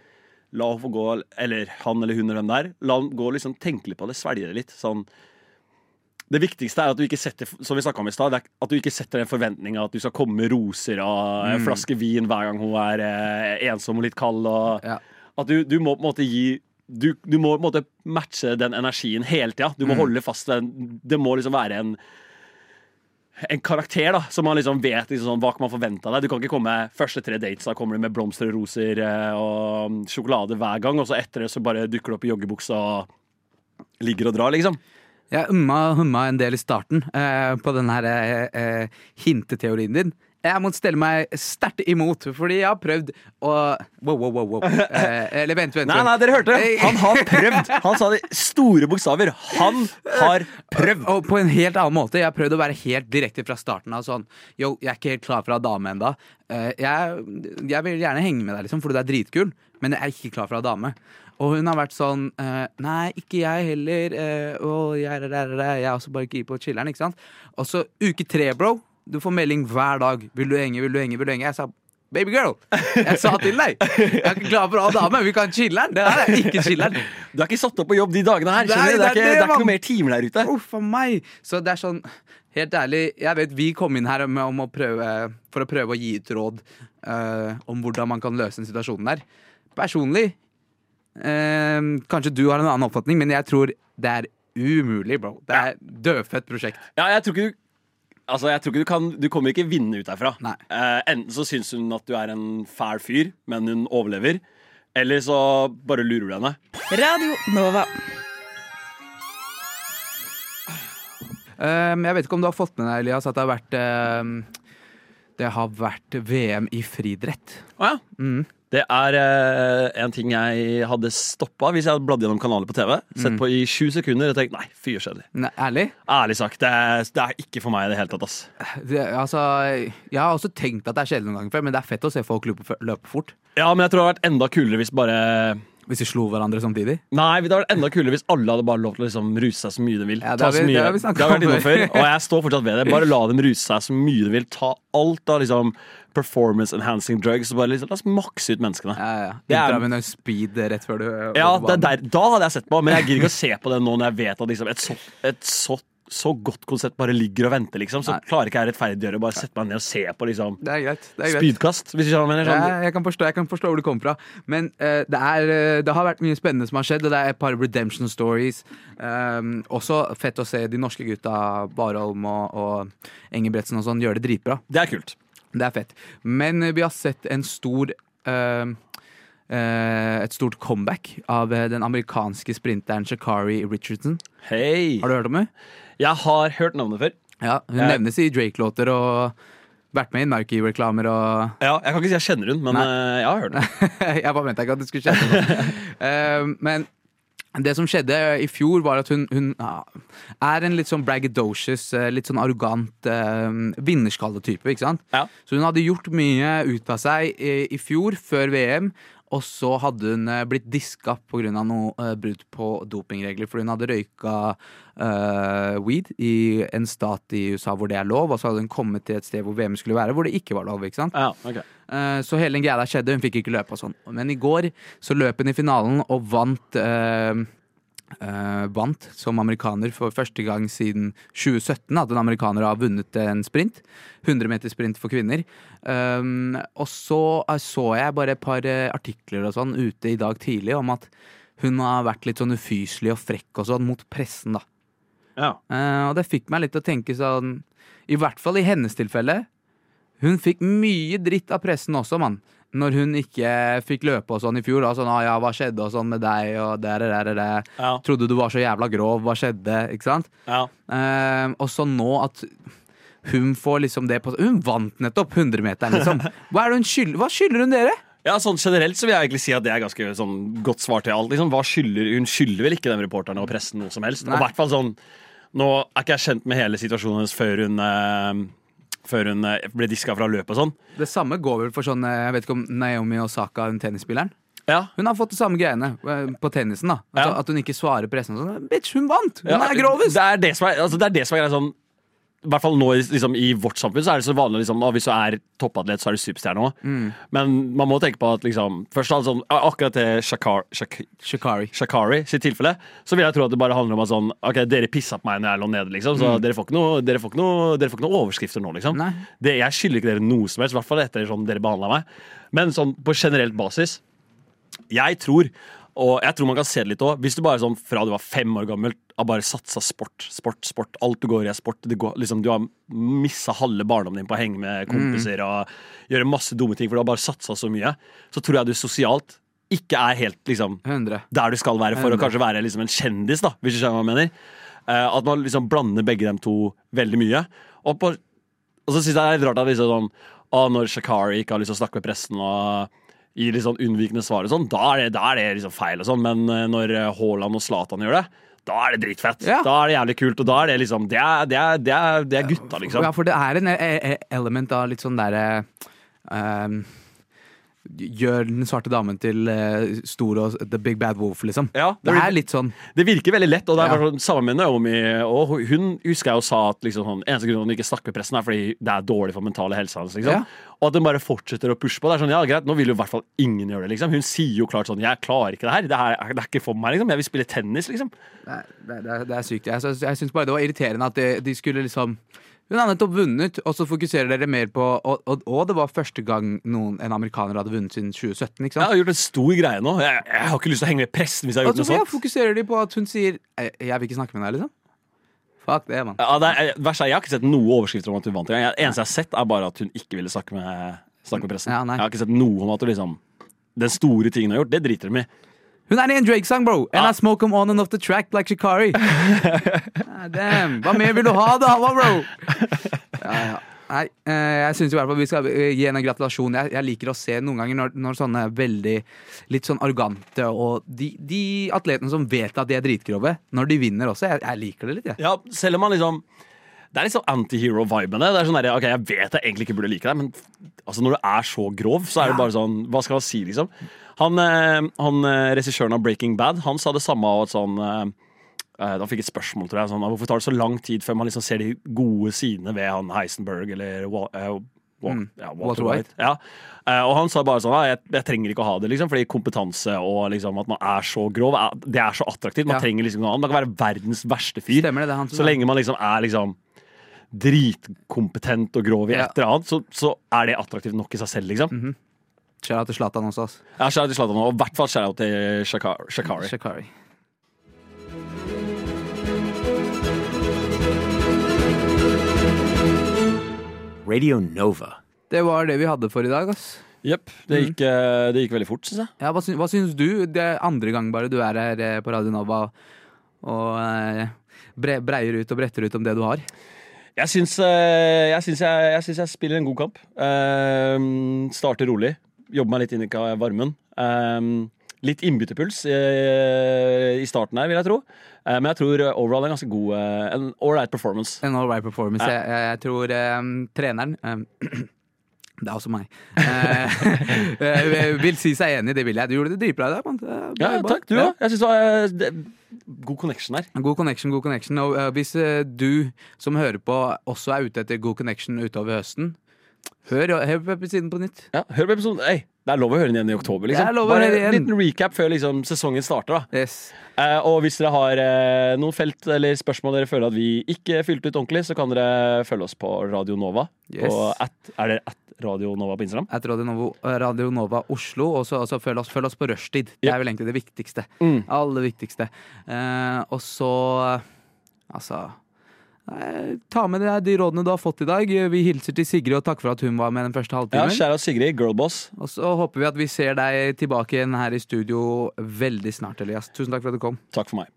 Speaker 2: La henne få gå, eller han eller hun eller hvem det er, la han gå og liksom tenke litt på det, svelge det litt. sånn det viktigste er at du ikke setter som vi snakket om i sted, det er at du ikke setter en forventning av at du skal komme med roser og
Speaker 4: Mm.
Speaker 2: en flaske vin hver gang hun er eh, ensom og litt kald. Og,
Speaker 4: Ja.
Speaker 2: At du, du må på en måte gi du, du må på en måte matche den energien hele tida. Du må holde fast ved den. Det må liksom være en en karakter da, som man liksom vet liksom, sånn, hva kan man forvente av deg. Du kan ikke komme første tre dates, da kommer du med blomster og roser eh, og sjokolade hver gang, og så etter det så bare dukker du opp i joggebuksa og ligger og drar, liksom.
Speaker 4: Jeg humma, humma en del i starten eh, på den her eh, eh, hinteteorien din. Jeg må stelle meg sterkt imot, fordi jeg har prøvd å Wow, wow, wow. wow. Eh, eller vent, vent.
Speaker 2: Nei, nei,
Speaker 4: vent.
Speaker 2: dere hørte det. Han har prøvd. Han sa det i store bokstaver. Han har prøvd.
Speaker 4: Og på en helt annen måte. Jeg har prøvd å være helt direkte fra starten av. Sånn, yo, jeg er ikke helt klar for å ha dame ennå. Jeg, jeg vil gjerne henge med deg, liksom, fordi du er dritkul, men jeg er ikke klar for å ha dame. Og hun har vært sånn eh, Nei, ikke jeg heller. eh, og jeg, jeg, jeg, jeg, jeg er også bare keen på chiller'n, ikke sant. Og så uke tre, bro. Du får melding hver dag. Vil du henge, vil du henge, vil du henge? Jeg sa Baby girl, jeg sa til deg. Jeg er ikke klar for å ha dame. Vi kan chiller'n. Det her er ikke chiller'n.
Speaker 2: Du er ikke satt opp på jobb de dagene her.
Speaker 4: Nei,
Speaker 2: skjønner du? Det er ikke, det er ikke noe mer timer der ute.
Speaker 4: Uff a meg. Så det er sånn Helt ærlig, jeg vet vi kom inn her med, om å prøve, for å prøve å gi ut råd eh, om hvordan man kan løse den situasjonen der. Personlig eh, Kanskje du har en annen oppfatning, men jeg tror det er umulig, bro. Det er dødfødt prosjekt.
Speaker 2: Ja, jeg tror ikke du Altså, jeg tror ikke Du kan Du kommer ikke vinne ut derfra.
Speaker 4: Nei.
Speaker 2: Eh, enten så syns hun at du er en fæl fyr, men hun overlever. Eller så bare lurer du henne.
Speaker 8: Radio Nova.
Speaker 4: Eh, jeg vet ikke om du har fått med deg, Elias, at det har vært eh, det har vært VM i friidrett.
Speaker 2: Å ja.
Speaker 4: Mm.
Speaker 2: Det er eh, en ting jeg hadde stoppa hvis jeg hadde bladd gjennom kanaler på TV. Sett
Speaker 4: Mm.
Speaker 2: på i sju sekunder og tenkt nei, fy kjedelig.
Speaker 4: Nei, ærlig?
Speaker 2: Ærlig sagt, det er, det er ikke for meg i det hele tatt. ass
Speaker 4: Det, altså, jeg har også tenkt at det er kjedelig noen ganger før, men det er fett å se folk løpe, løpe fort.
Speaker 2: Ja, men jeg tror det hadde vært enda kulere hvis bare
Speaker 4: Hvis de slo hverandre samtidig?
Speaker 2: Nei, det hadde vært enda kulere hvis alle hadde bare lov til å liksom ruse seg så mye de vil.
Speaker 4: Ja, det
Speaker 2: Ta
Speaker 4: har vi-
Speaker 2: så mye.
Speaker 4: det har vi snakket
Speaker 2: vært
Speaker 4: om
Speaker 2: innom før.
Speaker 4: før.
Speaker 2: Og jeg står fortsatt ved det. Bare la dem ruse seg så mye de vil. Ta alt av liksom performance enhancing drugs. Og bare liksom, La oss makse ut menneskene.
Speaker 4: Ja, ja.
Speaker 2: Det er-
Speaker 4: Intravenøs speed rett før du eh,
Speaker 2: Ja, det er der, Da hadde jeg sett på, men jeg gidder ikke å se på det nå når jeg vet at liksom et, så, et så, så godt konsept bare ligger og venter. liksom Så
Speaker 4: Nei.
Speaker 2: klarer ikke jeg rettferdiggjøre å bare sette meg ned og se på liksom
Speaker 4: Det er greit. Det er greit.
Speaker 2: spydkast. Hvis du skjønner hva jeg mener.
Speaker 4: Ja,
Speaker 2: Sånn.
Speaker 4: jeg, kan forstå, jeg kan forstå hvor du kommer fra. Men eh, det, er, eh, det har vært mye spennende som har skjedd, og det er et par redemption stories. Um, også fett å se de norske gutta, Barholm og, og Engebretsen og sånn, gjøre det dritbra.
Speaker 2: Det er kult.
Speaker 4: Det er fett. Men eh, vi har sett en stor eh, eh, et stort comeback av eh, den amerikanske sprinteren Shakari Richardson.
Speaker 2: Hei!
Speaker 4: Har du hørt om henne?
Speaker 2: Jeg har hørt navnet før.
Speaker 4: Ja, Hun
Speaker 2: Jeg-
Speaker 4: nevnes i Drake-låter og vært med i Nike-reklamer og
Speaker 2: Ja, Jeg kan ikke si jeg kjenner hun, men eh, jeg har hørt den.
Speaker 4: Jeg bare venta ikke at det skulle skje. Eh, men det som skjedde i fjor, var at hun, hun ja, er en litt sånn braggadocious, eh, litt sånn arrogant eh, vinnerskalletype. ikke sant?
Speaker 2: Ja.
Speaker 4: Så hun hadde gjort mye ut av seg i, i fjor, før VM. Og så hadde hun eh, blitt diska pga. noe eh, brudd på dopingregler. Fordi hun hadde røyka eh, weed i en stat i USA hvor det er lov. Og så hadde hun kommet til et sted hvor VM skulle være, hvor det ikke var lov. ikke sant?
Speaker 2: Ja, ok
Speaker 4: Eh, Så hele den greia der skjedde, hun fikk ikke løpe og sånn. Men i går så løp hun i finalen og vant eh, eh, Vant som amerikaner for første gang siden 2017 at en amerikaner har vunnet en sprint. 100 meter sprint for kvinner. Um, og så eh, så jeg bare et par eh, artikler og sånn ute i dag tidlig om at hun har vært litt sånn ufyselig og frekk og sånn mot pressen, da.
Speaker 2: Ja.
Speaker 4: Eh, og det fikk meg litt til å tenke sånn I hvert fall i hennes tilfelle. Hun fikk mye dritt av pressen også, mann. Når hun ikke fikk løpe og sånn i fjor, da, sånn ah, ja, hva skjedde og sånn med deg, og der, der, der, der.
Speaker 2: Ja.
Speaker 4: Trodde du var så jævla grov, hva skjedde, ikke sant?
Speaker 2: Ja.
Speaker 4: Eh, og så nå at hun får liksom det på Hun vant nettopp 100-meteren, liksom. Hva, er det hun skyld, hva skylder hun dere?
Speaker 2: Ja, sånn Generelt så vil jeg egentlig si at det er ganske sånn, godt svar til alt. Liksom, hva skylder, hun skylder vel ikke den reporteren og pressen noe som helst. Og
Speaker 4: Nei.
Speaker 2: i hvert fall sånn, Nå er ikke jeg kjent med hele situasjonen hennes før hun, eh, før hun eh, ble diska fra løpet og sånn.
Speaker 4: Det samme går vel for sånn eh, Jeg vet ikke om Naomi Osaka, hun tennisspilleren.
Speaker 2: Ja,
Speaker 4: Hun har fått det samme greiene eh, på tennisen. da At,
Speaker 2: Ja.
Speaker 4: at hun ikke svarer pressen. og Sånn, Bitch, hun vant! Hun
Speaker 2: Ja,
Speaker 4: er grovest!
Speaker 2: Det er det som er, altså, det er, det som er greia sånn i hvert fall nå i- liksom, I vårt samfunn så er det så vanlig liksom, at hvis du er toppadlet, så er du superstjerne òg.
Speaker 4: Mm.
Speaker 2: Men man må tenke på at liksom, først da, sånn, akkurat det Shakar, Shak,
Speaker 4: Shikari.
Speaker 2: Shakari sitt tilfelle, så vil jeg tro at det bare handler om at sånn Ok, dere pissa på meg når jeg lå nede, liksom, så dere, får ikke noe, dere, får ikke noe, dere får ikke noe overskrifter nå, liksom.
Speaker 4: Nei.
Speaker 2: Det, jeg skylder ikke dere noe som helst, i hvert fall etter sånn dere behandla meg. Men sånn på generelt basis, jeg tror og jeg tror man kan se det litt òg. Hvis du bare sånn fra du var fem år gammel har bare satsa sport, sport, sport. Alt du går i er sport. Det går, liksom, du har missa halve barndommen din på å henge med kompiser og gjøre masse dumme ting, for du har bare satsa så mye. Så tror jeg du sosialt ikke er helt liksom
Speaker 4: 100.
Speaker 2: der du skal være for å kanskje være liksom en kjendis, da, hvis du skjønner hva jeg mener. Eh, at man liksom blander begge dem to veldig mye. Og, på, og så syns jeg det er litt rart at liksom sånn, ah, når Shakari ikke har lyst til å snakke med pressen og gir litt sånn unnvikende svar, og sånn, da er det, da er det liksom feil. og sånn, Men eh, når eh, Haaland og Zlatan gjør det, da er det dritfett.
Speaker 4: Ja.
Speaker 2: Da er det jævlig kult. Og da er det liksom Det er, det er, det er, det er gutta, liksom.
Speaker 4: Ja, for det er en e- e- element av litt sånn derre ehm, Gjør den svarte damen til eh, stor og the big bad wolf, liksom.
Speaker 2: Ja,
Speaker 4: det,
Speaker 2: det blir-
Speaker 4: er litt sånn.
Speaker 2: Det virker veldig lett. og det er
Speaker 4: Ja.
Speaker 2: bare sånn, Sammen med Naomi og hun- hun husker jeg jo sa at liksom, sånn, eneste grunnen til at hun ikke snakker med pressen, er fordi det er dårlig for mentale helsa hennes. Liksom.
Speaker 4: Ja.
Speaker 2: Og at hun bare fortsetter å pushe på. Det er sånn, ja greit, Nå vil jo i hvert fall ingen gjøre det. Liksom. Hun sier jo klart sånn 'Jeg klarer ikke det her. Det, her, er- det er ikke for meg. Liksom. Jeg vil spille tennis', liksom.
Speaker 4: Det er, det er, det er sykt. Jeg, synes- jeg syns bare det var irriterende at de, de skulle liksom Hun har nettopp vunnet, og så fokuserer dere mer på Og, og, og det var første gang noen, en amerikaner hadde vunnet siden 2017, ikke sant?
Speaker 2: Jeg har gjort en stor greie nå. Jeg, jeg har ikke lyst til å henge med pressen hvis jeg har
Speaker 4: Og
Speaker 2: gjort noe
Speaker 4: så ja,
Speaker 2: sånt.
Speaker 4: fokuserer de på at hun sier Jeg, jeg vil ikke snakke med deg, liksom. Fuck det, mann.
Speaker 2: Ja, det er, jeg, verst er, jeg har ikke sett noe overskrifter om at hun vant engang. Det eneste jeg har sett, er bare at hun ikke ville snakke med, snakke med pressen.
Speaker 4: Ja, nei.
Speaker 2: jeg har ikke sett noe om at hun liksom Den store tingen hun har gjort, det driter hun i.
Speaker 4: Hun er i en Drake-sang, bro! And
Speaker 2: Ja.
Speaker 4: I smoke 'em on and off the track like Shikari. Ah, Damn. Hva mer vil du ha, da, hva, bro? Ja, ja. Nei, eh, jeg syns i hvert fall vi skal eh, gi henne en gratulasjon. Jeg, jeg liker å se noen ganger når, når sånne veldig litt sånn arrogante og de, de atletene som vet at de er dritgrove, når de vinner også. Jeg, jeg liker det litt, jeg.
Speaker 2: Ja, selv om man liksom Det er litt sånn antihero-viben. Det Det er sånn der, ok, Jeg vet jeg egentlig ikke burde like deg, men altså, når du er så grov, så er det bare sånn Hva skal man si, liksom? Han, eh, han eh, regissøren av Breaking Bad, han sa det samme av at sånn eh, eh, han fikk et spørsmål, tror jeg. Sånn, hvorfor tar det så lang tid før man liksom ser de gode sidene ved han Heisenberg eller Wa- eh, Wa- ja, Walter
Speaker 4: Mm. Walter
Speaker 2: White?
Speaker 4: White.
Speaker 2: Ja. Eh, og han sa bare sånn «Nei, jeg, jeg trenger ikke å ha det, liksom, fordi kompetanse og liksom, at man er så grov, er- det er så attraktivt. Man
Speaker 4: Ja.
Speaker 2: trenger liksom noe annet. Man kan være verdens verste fyr.
Speaker 4: Stemmer det, det er han som
Speaker 2: Så
Speaker 4: er-
Speaker 2: lenge man liksom er liksom dritkompetent og grov i
Speaker 4: Ja.
Speaker 2: et eller annet, så, så er det attraktivt nok i seg selv, liksom.
Speaker 4: Shout out til Zlatan også, ass.
Speaker 2: Jeg har skjæra til Zlatan og i hvert fall skjæra til Shaka- Shakari.
Speaker 4: Shikari.
Speaker 3: Radio Nova.
Speaker 4: Det var det vi hadde for i dag, ass.
Speaker 2: Jepp. Det, gikk, eh, det gikk veldig fort, syns jeg.
Speaker 4: Ja, hva, syns, hva syns du? Det er andre gang bare du er her eh, på Radio Nova og eh, bre, breier ut og bretter ut om det du har.
Speaker 2: Jeg syns eh, jeg, syns jeg, jeg, syns jeg spiller en god kamp. Ehm, starter rolig. Jobber meg litt inn i ka- varmen. Ehm, litt innbytterpuls eh, i starten her, vil jeg tro. Eh, men jeg tror eh, overall en ganske god eh, En ålreit performance.
Speaker 4: En all right performance. Jeg, jeg, jeg tror eh, treneren eh, Det er også meg. eh, eh, vil si seg enig, det vil jeg. Du gjorde det dritbra i dag. mann. Det er bra
Speaker 2: Ja,
Speaker 4: jobba.
Speaker 2: takk, du
Speaker 4: Ja.
Speaker 2: òg. Jeg syns det var eh, det- god connection her.
Speaker 4: God connection, god connection. Og eh, hvis eh, du som hører på også er ute etter god connection utover høsten, hør, eh, hør på episoden på nytt.
Speaker 2: Ja, hør på episoden. Ei, det er lov å høre den igjen i oktober. Liksom.
Speaker 4: Det er lov å
Speaker 2: Bare
Speaker 4: høre den
Speaker 2: en
Speaker 4: igjen.
Speaker 2: liten recap før liksom, sesongen starter. Da.
Speaker 4: Yes.
Speaker 2: Eh, og hvis dere har eh, noen felt eller spørsmål dere føler at vi ikke fylte ut ordentlig, så kan dere følge oss på Radio Nova.
Speaker 4: Yes.
Speaker 2: På at, er det at Radio Nova på Instagram?
Speaker 4: at Radio Nova, Radio Nova Oslo. Og så og så følg oss, følg oss på rushtid. Det
Speaker 2: Ja.
Speaker 4: er vel egentlig det viktigste.
Speaker 2: Mm.
Speaker 4: Aller viktigste. Eh, og så eh, Altså eh, ta med de, de rådene du har fått i dag. Vi hilser til Sigrid og takker for at hun var med den første
Speaker 2: Ja,
Speaker 4: halvtimen.
Speaker 2: Kjære Sigrid, girlboss.
Speaker 4: og så håper vi at vi ser deg tilbake igjen her i studio veldig snart, Elias. Tusen takk for at du kom.
Speaker 2: Takk for meg.